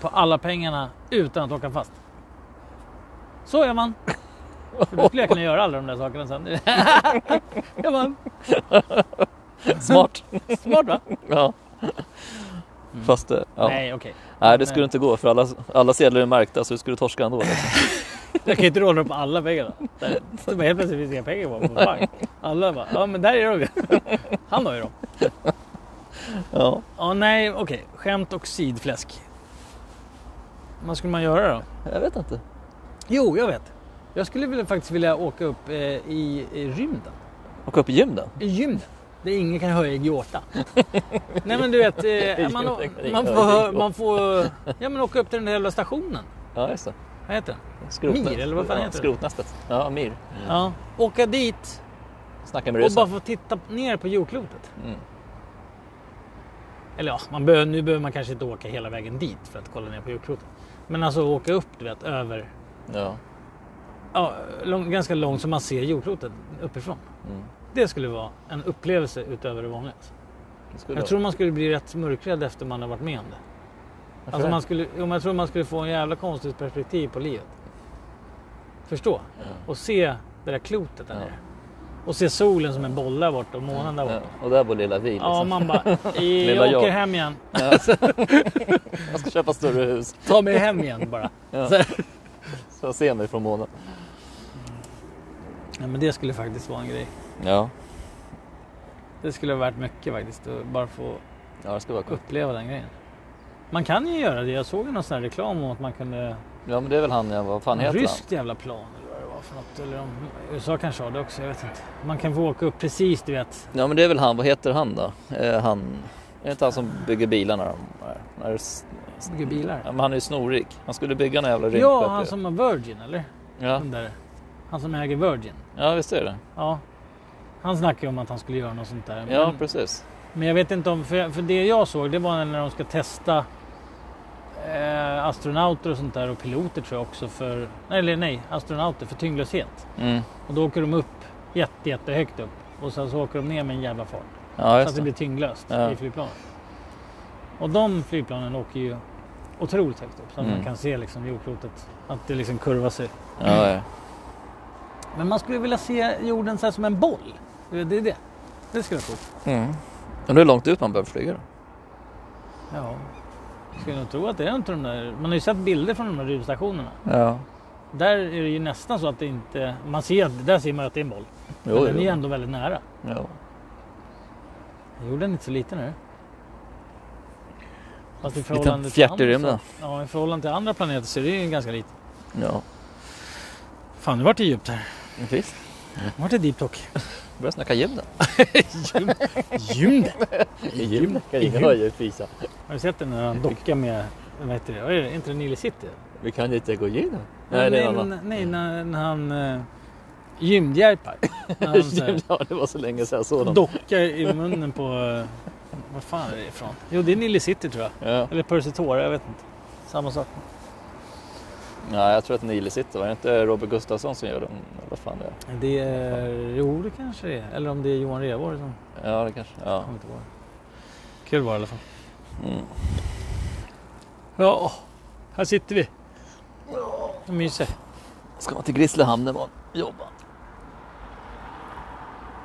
Speaker 1: på alla pengarna utan att åka fast. Så gör man. För då skulle jag kunna göra alla de där sakerna sen. [laughs] jag vann. [laughs]
Speaker 2: Smart.
Speaker 1: Smart va?
Speaker 2: Ja. Fast eh, ja. Nej,
Speaker 1: Mm. Nej okej.
Speaker 2: det skulle inte gå för alla, alla sedlar är märkta så du skulle torska ändå. liksom.
Speaker 1: Jag kan ju inte råna dem på alla pengarna. Där- Så bara helt plötsligt finns det inga pengar kvar på bank. Alla bara, ja men där är de. Han har ju dem.
Speaker 2: Ja.
Speaker 1: [laughs] Ja nej okej, skämt och sidfläsk. Vad skulle man göra då?
Speaker 2: Jag vet inte.
Speaker 1: Jo, jag vet. Jag skulle vilja, faktiskt vilja åka upp eh, i, i rymden.
Speaker 2: Åka upp i gymden?
Speaker 1: I gymden. Där ingen kan höja [laughs] Igiota. Nej men du vet, eh, man,
Speaker 2: Ingen kan
Speaker 1: man,
Speaker 2: höja
Speaker 1: får,
Speaker 2: Igiota.
Speaker 1: man får ja, men åka upp till den där jävla stationen.
Speaker 2: Ja, just det.
Speaker 1: Vad heter den?
Speaker 2: Skrotnä-
Speaker 1: Mir, eller vad fan
Speaker 2: ja,
Speaker 1: heter det?
Speaker 2: Skrotnästet. Ja, Mir.
Speaker 1: Ja. Åka dit
Speaker 2: Snacka med
Speaker 1: och bara
Speaker 2: ryssen.
Speaker 1: få titta ner på jordklotet.
Speaker 2: Mm.
Speaker 1: Eller ja, man behöver, nu behöver man kanske inte åka hela vägen dit för att kolla ner på jordklotet. Men alltså åka upp, du vet, över...
Speaker 2: Ja.
Speaker 1: Ja, lång, ganska långt så man ser jordklotet uppifrån.
Speaker 2: Mm.
Speaker 1: Det skulle vara en upplevelse utöver det vanliga.
Speaker 2: Det skulle
Speaker 1: Jag tror man skulle bli rätt mörkrädd efter man har varit med om det. Alltså man skulle, jo, men jag tror man skulle få en jävla konstigt perspektiv på livet. Förstå? Och se det där klotet där
Speaker 2: Ja.
Speaker 1: nere. Och se solen som en boll där borta och månen där borta.
Speaker 2: ja. Och där bor lilla Vi. Liksom.
Speaker 1: Ja, man
Speaker 2: [laughs]
Speaker 1: bara, "I-
Speaker 2: Lilla
Speaker 1: jag åker
Speaker 2: jag."
Speaker 1: hem igen.
Speaker 2: Jag ska köpa större hus.
Speaker 1: Ta mig hem igen [laughs] bara.
Speaker 2: Ja.
Speaker 1: Så här.
Speaker 2: Så jag ser mig från månen.
Speaker 1: Ja, men det skulle faktiskt vara en grej.
Speaker 2: Ja.
Speaker 1: Det skulle ha varit mycket faktiskt. Att bara få
Speaker 2: Ja, det ska vara coolt.
Speaker 1: uppleva den grejen. Man kan ju göra det. Jag såg ju någon sån här reklam om att man kunde...
Speaker 2: Ja, men det är väl han, ja, vad fan heter
Speaker 1: Ryskt jävla plan eller vad det var för något. Eller om USA kanske har det också. Jag vet inte. Man kan få åka upp precis, du vet.
Speaker 2: han? Ja, men det är väl han. Vad heter han då? Eh, han... Är det inte han som bygger bilarna? De, där? När det s-
Speaker 1: Bygger bilar.
Speaker 2: Ja, men han är ju snorrik. Han skulle bygga en jävla rymdskepp.
Speaker 1: Ja,
Speaker 2: ju.
Speaker 1: han som har Virgin eller?
Speaker 2: ja.
Speaker 1: Den där. Han som äger Virgin.
Speaker 2: ja, visst är det.
Speaker 1: Ja. Han snackade ju om att han skulle göra något sånt där.
Speaker 2: Ja,
Speaker 1: men,
Speaker 2: precis.
Speaker 1: men jag vet inte om... För, för det jag såg det var när de ska testa eh, astronauter och sånt där och piloter tror jag också för... Nej, eller nej, astronauter för tyngdlöshet.
Speaker 2: Mm.
Speaker 1: Och då åker de upp jätte, jättehögt upp. Och sen så åker de ner med en jävla fart.
Speaker 2: Ja,
Speaker 1: Så att
Speaker 2: just
Speaker 1: det
Speaker 2: det.
Speaker 1: blir tyngdlöst
Speaker 2: Ja.
Speaker 1: i flygplanet. Och de flygplanen åker ju otroligt högt upp så att
Speaker 2: Mm.
Speaker 1: man kan se liksom jordklotet. Att det liksom kurvar sig.
Speaker 2: Ja, ja.
Speaker 1: Men man skulle vilja se jorden så här som en boll. Det det är det. Det skulle vara coolt.
Speaker 2: Mm. Undrar hur långt ut man behöver flyga då?
Speaker 1: Ja. Skulle nog tro att det är inte de där. Man har ju sett bilder från de där rymdstationerna.
Speaker 2: Ja.
Speaker 1: Där är det ju nästan så att det inte... Man ser att där ser man att det är en boll.
Speaker 2: Jo,
Speaker 1: Men
Speaker 2: jo.
Speaker 1: den är ju ändå väldigt nära.
Speaker 2: jo.
Speaker 1: Jorden är inte så liten nu. Fast i
Speaker 2: Liten
Speaker 1: förhållande till
Speaker 2: fjärt i
Speaker 1: andra-
Speaker 2: rymden.
Speaker 1: Ja, i förhållande till andra planeter så är det ju ganska liten.
Speaker 2: Ja.
Speaker 1: Fan, nu vart det djupt här.
Speaker 2: Visst.
Speaker 1: Nu vart det deep
Speaker 2: [laughs]
Speaker 1: talk.
Speaker 2: Börjar snacka gymden.
Speaker 1: Gymden!
Speaker 2: Gymden kan
Speaker 1: ingen
Speaker 2: höja fisa.
Speaker 1: Har du sett den där docka med, vad heter det, Vad är det? inte det Nile City?
Speaker 2: Vi kan inte gå igenom. Nej, det är en
Speaker 1: nej,
Speaker 2: annan. [laughs]
Speaker 1: men- nej när, när han eh,
Speaker 2: [laughs]
Speaker 1: gymdjärpar. När han så här,
Speaker 2: Ja, det var så länge sedan jag såg dem.
Speaker 1: dockar i munnen på, eh, vad fan är det ifrån? Jo, det är Nile City tror jag.
Speaker 2: Ja.
Speaker 1: Eller Percy Tora, jag vet inte. Samma sak.
Speaker 2: Nej, jag tror att Nile sitter. Var det inte Robert Gustafsson som gör dem? Eller vad fan det är?
Speaker 1: Det är, jo det kanske det är. Eller om det är Johan Rheborg som,
Speaker 2: Ja, det kanske. Ja.
Speaker 1: kommer inte ihåg. Kul var det i alla fall.
Speaker 2: Mm.
Speaker 1: Ja, här sitter vi. Och myser.
Speaker 2: Ska man till Grisslehamn imorgon? Jobba.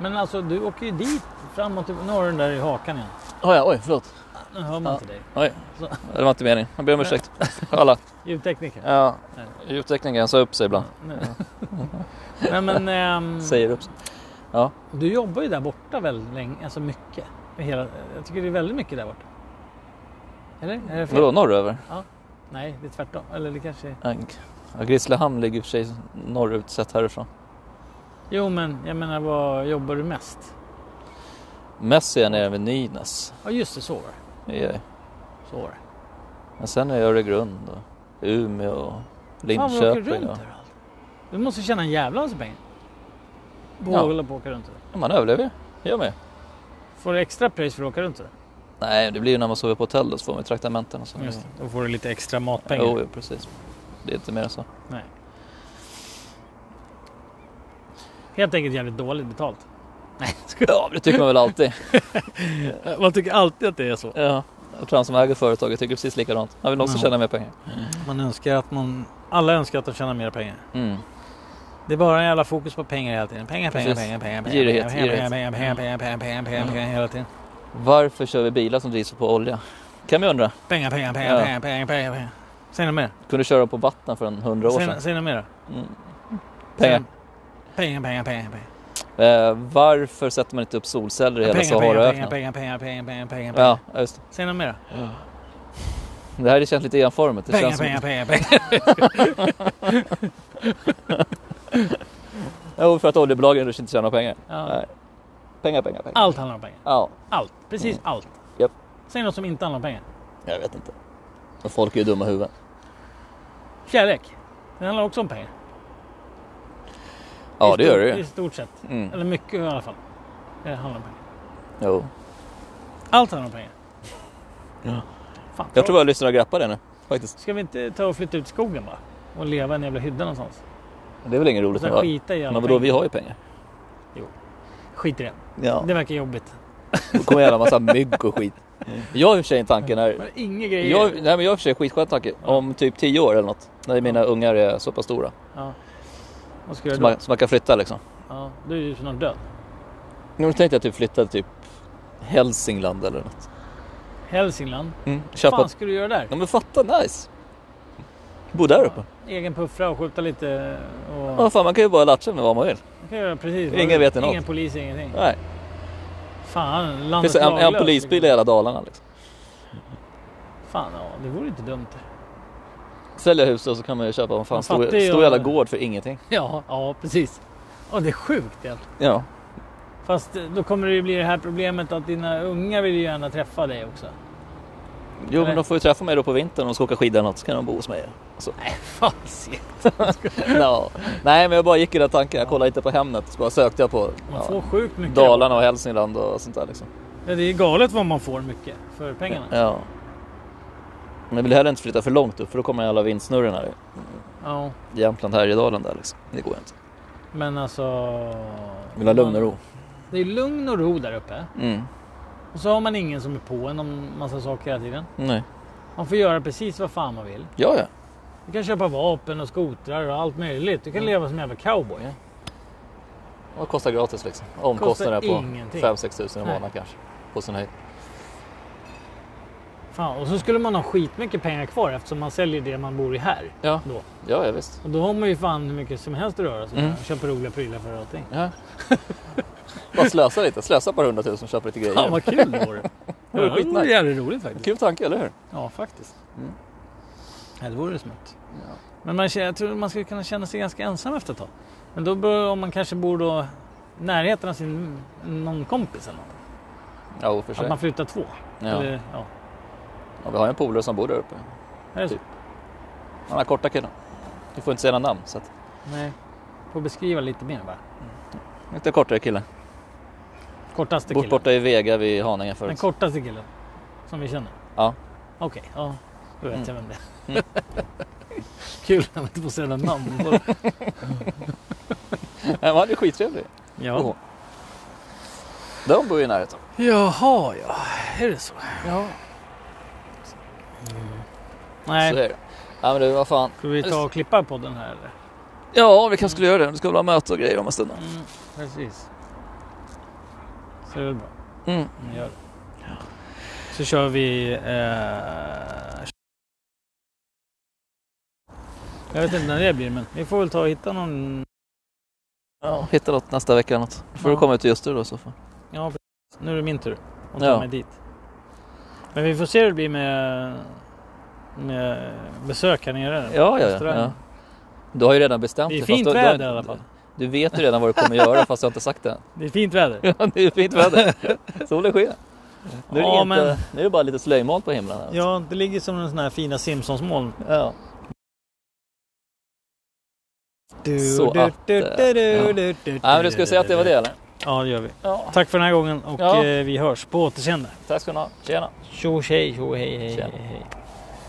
Speaker 1: Men alltså du åker ju dit fram och tillbaka. Nu har du den där i hakan igen.
Speaker 2: Oh, ja, oj, förlåt.
Speaker 1: Nu hör man
Speaker 2: Ja.
Speaker 1: inte dig.
Speaker 2: Oj.
Speaker 1: Så.
Speaker 2: Det var inte meningen. Jag ber om ursäkt. Alla.
Speaker 1: Ljudtekniker.
Speaker 2: Ja.
Speaker 1: Nej.
Speaker 2: Ljudteknikern sa upp sig ibland.
Speaker 1: Nu. Nej men ehm,
Speaker 2: Mm. Säger upp sig.
Speaker 1: du jobbar ju där borta väldigt länge, alltså mycket. Hela, jag tycker det är väldigt mycket där borta. Eller? Är det fel?
Speaker 2: Vadå, norröver?
Speaker 1: Nej, det är tvärtom. Eller det kanske är...
Speaker 2: Agg. Ja, Grisslehamn ligger i och för sig norrut sett härifrån.
Speaker 1: Jo men jag menar vad jobbar du mest?
Speaker 2: Messi är nere vid Nynäs.
Speaker 1: Ja just det, så var det.
Speaker 2: Det är jag.
Speaker 1: Så var det.
Speaker 2: Men sen är jag i Öregrund och Umeå och
Speaker 1: Fan vad du åker
Speaker 2: Linköping.
Speaker 1: runt
Speaker 2: och-
Speaker 1: överallt. Du måste tjäna en jävla massa pengar. På
Speaker 2: Ja.
Speaker 1: att hålla på och åka runt sådär.
Speaker 2: Ja, man överlever ju. Gör man ju.
Speaker 1: Får du extra pris för att åka runt sådär?
Speaker 2: Nej, det blir ju när man sover på hotell då så får man ju traktamenten och så.
Speaker 1: Just det. Då får du lite extra matpengar.
Speaker 2: Jo, jo, precis. Det är inte mer än så.
Speaker 1: Nej. Helt enkelt jävligt dåligt betalt. Nej, ska
Speaker 2: Ja, det tycker man väl alltid.
Speaker 1: jag... Man tycker alltid att det är så.
Speaker 2: Ja. Jag tror han som äger företaget tycker precis likadant. Han vill också
Speaker 1: Ja.
Speaker 2: tjäna mer pengar.
Speaker 1: Man önskar att man... Alla önskar att de tjänar mer pengar.
Speaker 2: Mm.
Speaker 1: Det är bara en jävla fokus på pengar hela tiden. Pengar, pengar,
Speaker 2: Precis.
Speaker 1: pengar, pengar, pengar,
Speaker 2: Girighet,
Speaker 1: pengar, pengar,
Speaker 2: girighet. Mm.
Speaker 1: pengar, pengar, pengar, pengar, pengar, pengar, pengar hela tiden.
Speaker 2: Varför kör vi bilar som drivs på olja? Kan vi undra.
Speaker 1: Pengar, pengar,
Speaker 2: Ja.
Speaker 1: pengar, pengar, pengar, pengar, pengar. Säg något mer.
Speaker 2: Kunde köra på vatten för en hundra år
Speaker 1: Säg,
Speaker 2: sedan.
Speaker 1: säg något mer då.
Speaker 2: Mm. Pengar.
Speaker 1: Pengar, pengar, pengar, pengar.
Speaker 2: Eh, varför sätter man inte upp solceller i hela
Speaker 1: pengar, pengar,
Speaker 2: Saharaöknen?
Speaker 1: pengar, pengar, pengar, pengar, pengar, pengar.
Speaker 2: Ja, ja, just
Speaker 1: Säg något mer då.
Speaker 2: det. Det här känns lite enformigt. Det
Speaker 1: Pengar,
Speaker 2: känns som-
Speaker 1: pengar, pengar,
Speaker 2: [laughs]
Speaker 1: pengar.
Speaker 2: Jo, för att oljebolagen inte tjänar pengar.
Speaker 1: Ja.
Speaker 2: Nej. Pengar, pengar, pengar.
Speaker 1: Allt handlar om pengar.
Speaker 2: Ja,
Speaker 1: Allt. Precis allt.
Speaker 2: Mm. Japp.
Speaker 1: Säg något som inte handlar om pengar.
Speaker 2: jag vet inte. Och folk är ju dumma i huvudet.
Speaker 1: Kärlek. Det handlar också om pengar.
Speaker 2: Ja,
Speaker 1: I
Speaker 2: det
Speaker 1: stort-
Speaker 2: gör det
Speaker 1: I
Speaker 2: ju.
Speaker 1: stort sett.
Speaker 2: Mm.
Speaker 1: Eller mycket i alla fall. Det handlar om pengar.
Speaker 2: Jo.
Speaker 1: Allt handlar om pengar.
Speaker 2: Ja.
Speaker 1: Fan,
Speaker 2: Jag tror jag lyssnar och grappar det nu. Faktiskt.
Speaker 1: Ska vi inte ta och flytta ut skogen bara? Och leva i en jävla hydda någonstans?
Speaker 2: Det är väl inget
Speaker 1: Och
Speaker 2: roligt.
Speaker 1: sen
Speaker 2: va?
Speaker 1: skita i alla
Speaker 2: Men vadå, vi
Speaker 1: pengar.
Speaker 2: har ju pengar.
Speaker 1: Skit i det.
Speaker 2: Ja.
Speaker 1: Det verkar jobbigt.
Speaker 2: Det kommer en jävla massa mygg och skit. Jag har i och för sig en tanke när...
Speaker 1: Men inga grejer.
Speaker 2: Jag, nej men jag har i och för sig en skitskön tanke. Om typ 10 år eller något. När mina ungar är så pass stora.
Speaker 1: Ja. Vad ska jag
Speaker 2: Så
Speaker 1: göra
Speaker 2: man,
Speaker 1: då?
Speaker 2: så man kan flytta liksom.
Speaker 1: Ja, du är ju snart död.
Speaker 2: Nu tänkte jag typ flytta till typ Hälsingland eller något.
Speaker 1: Hälsingland.
Speaker 2: Mm.
Speaker 1: Vad
Speaker 2: Köpa...
Speaker 1: fan ska du göra där?
Speaker 2: Ja men fatta, nice! Bo där uppe.
Speaker 1: Egen puffra och skjuta lite. Och...
Speaker 2: Ja, fan, man kan ju bara latcha med vad man vill.
Speaker 1: Man kan göra precis vad
Speaker 2: Ingen
Speaker 1: du-
Speaker 2: vet något.
Speaker 1: Ingen polis, ingenting.
Speaker 2: Nej.
Speaker 1: Fan,
Speaker 2: Det
Speaker 1: landets
Speaker 2: finns en, en
Speaker 1: laglös,
Speaker 2: polisbil i
Speaker 1: liksom.
Speaker 2: hela Dalarna. Liksom.
Speaker 1: Fan, ja, det vore inte dumt. [laughs]
Speaker 2: Sälja huset och så kan man ju köpa en fan,
Speaker 1: Man
Speaker 2: stor,
Speaker 1: fattar ju
Speaker 2: stor
Speaker 1: om-
Speaker 2: jävla gård för ingenting.
Speaker 1: Ja, ja precis. Ja, det är sjukt egentligen.
Speaker 2: Ja.
Speaker 1: Fast eh, då kommer det ju bli det här problemet att dina unga vill ju gärna träffa dig också. [laughs]
Speaker 2: Jo
Speaker 1: Nej.
Speaker 2: men de får ju träffa mig då på vintern om de ska åka skidor eller något så kan de bo hos mig. Så.
Speaker 1: Nej, fan shit.
Speaker 2: [laughs] Ja. Nej men jag bara gick i den tanken. Jag kollade inte på Hemnet så bara sökte jag på
Speaker 1: Man
Speaker 2: ja,
Speaker 1: får sjukt mycket.
Speaker 2: Dalarna och Hälsingland och sånt där liksom.
Speaker 1: Ja, det är galet vad man får mycket för pengarna. Ja.
Speaker 2: Ja. Men jag vill heller inte flytta för långt upp för då kommer alla vindsnurrorna här i Jämtland, Härjedalen där liksom. Det går inte.
Speaker 1: men alltså...
Speaker 2: Jag vill ha lugn och ro.
Speaker 1: Det är lugn och ro där uppe.
Speaker 2: Mm.
Speaker 1: Och så har man ingen som är på en om massa saker hela tiden.
Speaker 2: Nej.
Speaker 1: Man får göra precis vad fan man vill.
Speaker 2: Ja ja.
Speaker 1: Du kan köpa vapen och skotrar och allt möjligt. Du kan leva som en jävla cowboy.
Speaker 2: Och kostar gratis liksom. Omkostnaderna på
Speaker 1: ingenting.
Speaker 2: 5-6 tusen i
Speaker 1: Nej.
Speaker 2: månaden kanske. På sin höjd.
Speaker 1: Fan, och så skulle man ha skitmycket pengar kvar eftersom man säljer det man bor i här.
Speaker 2: Ja.
Speaker 1: Då.
Speaker 2: Ja, ja visst.
Speaker 1: Och då har man ju fan hur mycket som helst att röra sig med.
Speaker 2: Mm.
Speaker 1: och Köpa roliga prylar för allting.
Speaker 2: Ja. [laughs] Bara slösa lite. Slösa ett par hundratusen och köpa lite grejer.
Speaker 1: Fan vad kul det
Speaker 2: [laughs]
Speaker 1: vore.
Speaker 2: Det vore
Speaker 1: det vore
Speaker 2: skitnice.
Speaker 1: jävligt roligt faktiskt.
Speaker 2: Kul tanke, eller hur?
Speaker 1: Ja, faktiskt.
Speaker 2: Mm.
Speaker 1: Ja, det vore smutt.
Speaker 2: Ja.
Speaker 1: Men man, jag tror man skulle kunna känna sig ganska ensam efter ett tag. Men då bör, om man kanske bor då i närheten av sin, någon kompis eller något.
Speaker 2: Ja, och för sig.
Speaker 1: Att man flyttar två.
Speaker 2: Ja.
Speaker 1: Eller, ja.
Speaker 2: Ja, vi har en polare som bor där uppe.
Speaker 1: Är det så?
Speaker 2: Typ. Han är korta killen. Du får inte säga några namn. Så att...
Speaker 1: Nej. Får beskriva lite mer bara.
Speaker 2: Inte kortare killen.
Speaker 1: Kortaste
Speaker 2: Bort
Speaker 1: killen.
Speaker 2: borta i Vega vid Haninge
Speaker 1: Den
Speaker 2: förut. [laughs]
Speaker 1: kortaste killen. Som vi känner.
Speaker 2: Ja.
Speaker 1: Okej, ja. Då vet
Speaker 2: Mm.
Speaker 1: jag vem det är. [laughs] Kul när man inte får säga några
Speaker 2: [laughs]
Speaker 1: namn.
Speaker 2: Nej, men han är skittrevlig.
Speaker 1: ja.
Speaker 2: De bor ju i närheten.
Speaker 1: Jaha, ja. Är det så?
Speaker 2: Ja. Så
Speaker 1: Nej.
Speaker 2: är det. Ja, men du, vad fan.
Speaker 1: Ska vi ta och klippa podden här eller?
Speaker 2: Ja, vi kanske skulle göra det. Vi ska väl ha möte och grejer om en stund.
Speaker 1: Mm, precis. Så det är väl bra.
Speaker 2: Mm.
Speaker 1: Vi gör det. Så kör vi... Eh... Jag vet inte när det blir men vi får väl ta och hitta någon...
Speaker 2: Ja, hitta något nästa vecka eller något. Då får
Speaker 1: Ja.
Speaker 2: du komma ut till Ljusterö då i så fall.
Speaker 1: Ja, precis. Nu är det min tur att ta
Speaker 2: Ja.
Speaker 1: mig dit. Men vi får se hur det blir med, med besök här nere.
Speaker 2: Ja, ja, ja,
Speaker 1: Restaurang.
Speaker 2: ja. Du har ju redan bestämt
Speaker 1: Det är
Speaker 2: dig,
Speaker 1: fint
Speaker 2: fast du- du har
Speaker 1: väder
Speaker 2: inte-
Speaker 1: i alla fall.
Speaker 2: Du vet ju redan vad du kommer göra fast jag har inte
Speaker 1: [laughs]
Speaker 2: sagt det.
Speaker 1: Det är fint väder.
Speaker 2: Ja, det är fint väder. Solen sken. Nu är, det
Speaker 1: Ja,
Speaker 2: inte,
Speaker 1: men-
Speaker 2: nu är det bara lite slöjmoln på himlen. Här.
Speaker 1: Ja, det ligger som en sån här fina Simpsons-moln.
Speaker 2: Ja. Så att, eh, ja. Nej, men du skulle säga att det var det eller?
Speaker 1: Ja, det gör vi.
Speaker 2: Ja.
Speaker 1: Tack för den här gången och
Speaker 2: Ja.
Speaker 1: eh, vi hörs. På återseende.
Speaker 2: Tack ska ni ha. Tjena.
Speaker 1: Tjo tjej, tjo hej hej.
Speaker 2: Tjena.
Speaker 1: hej, hej.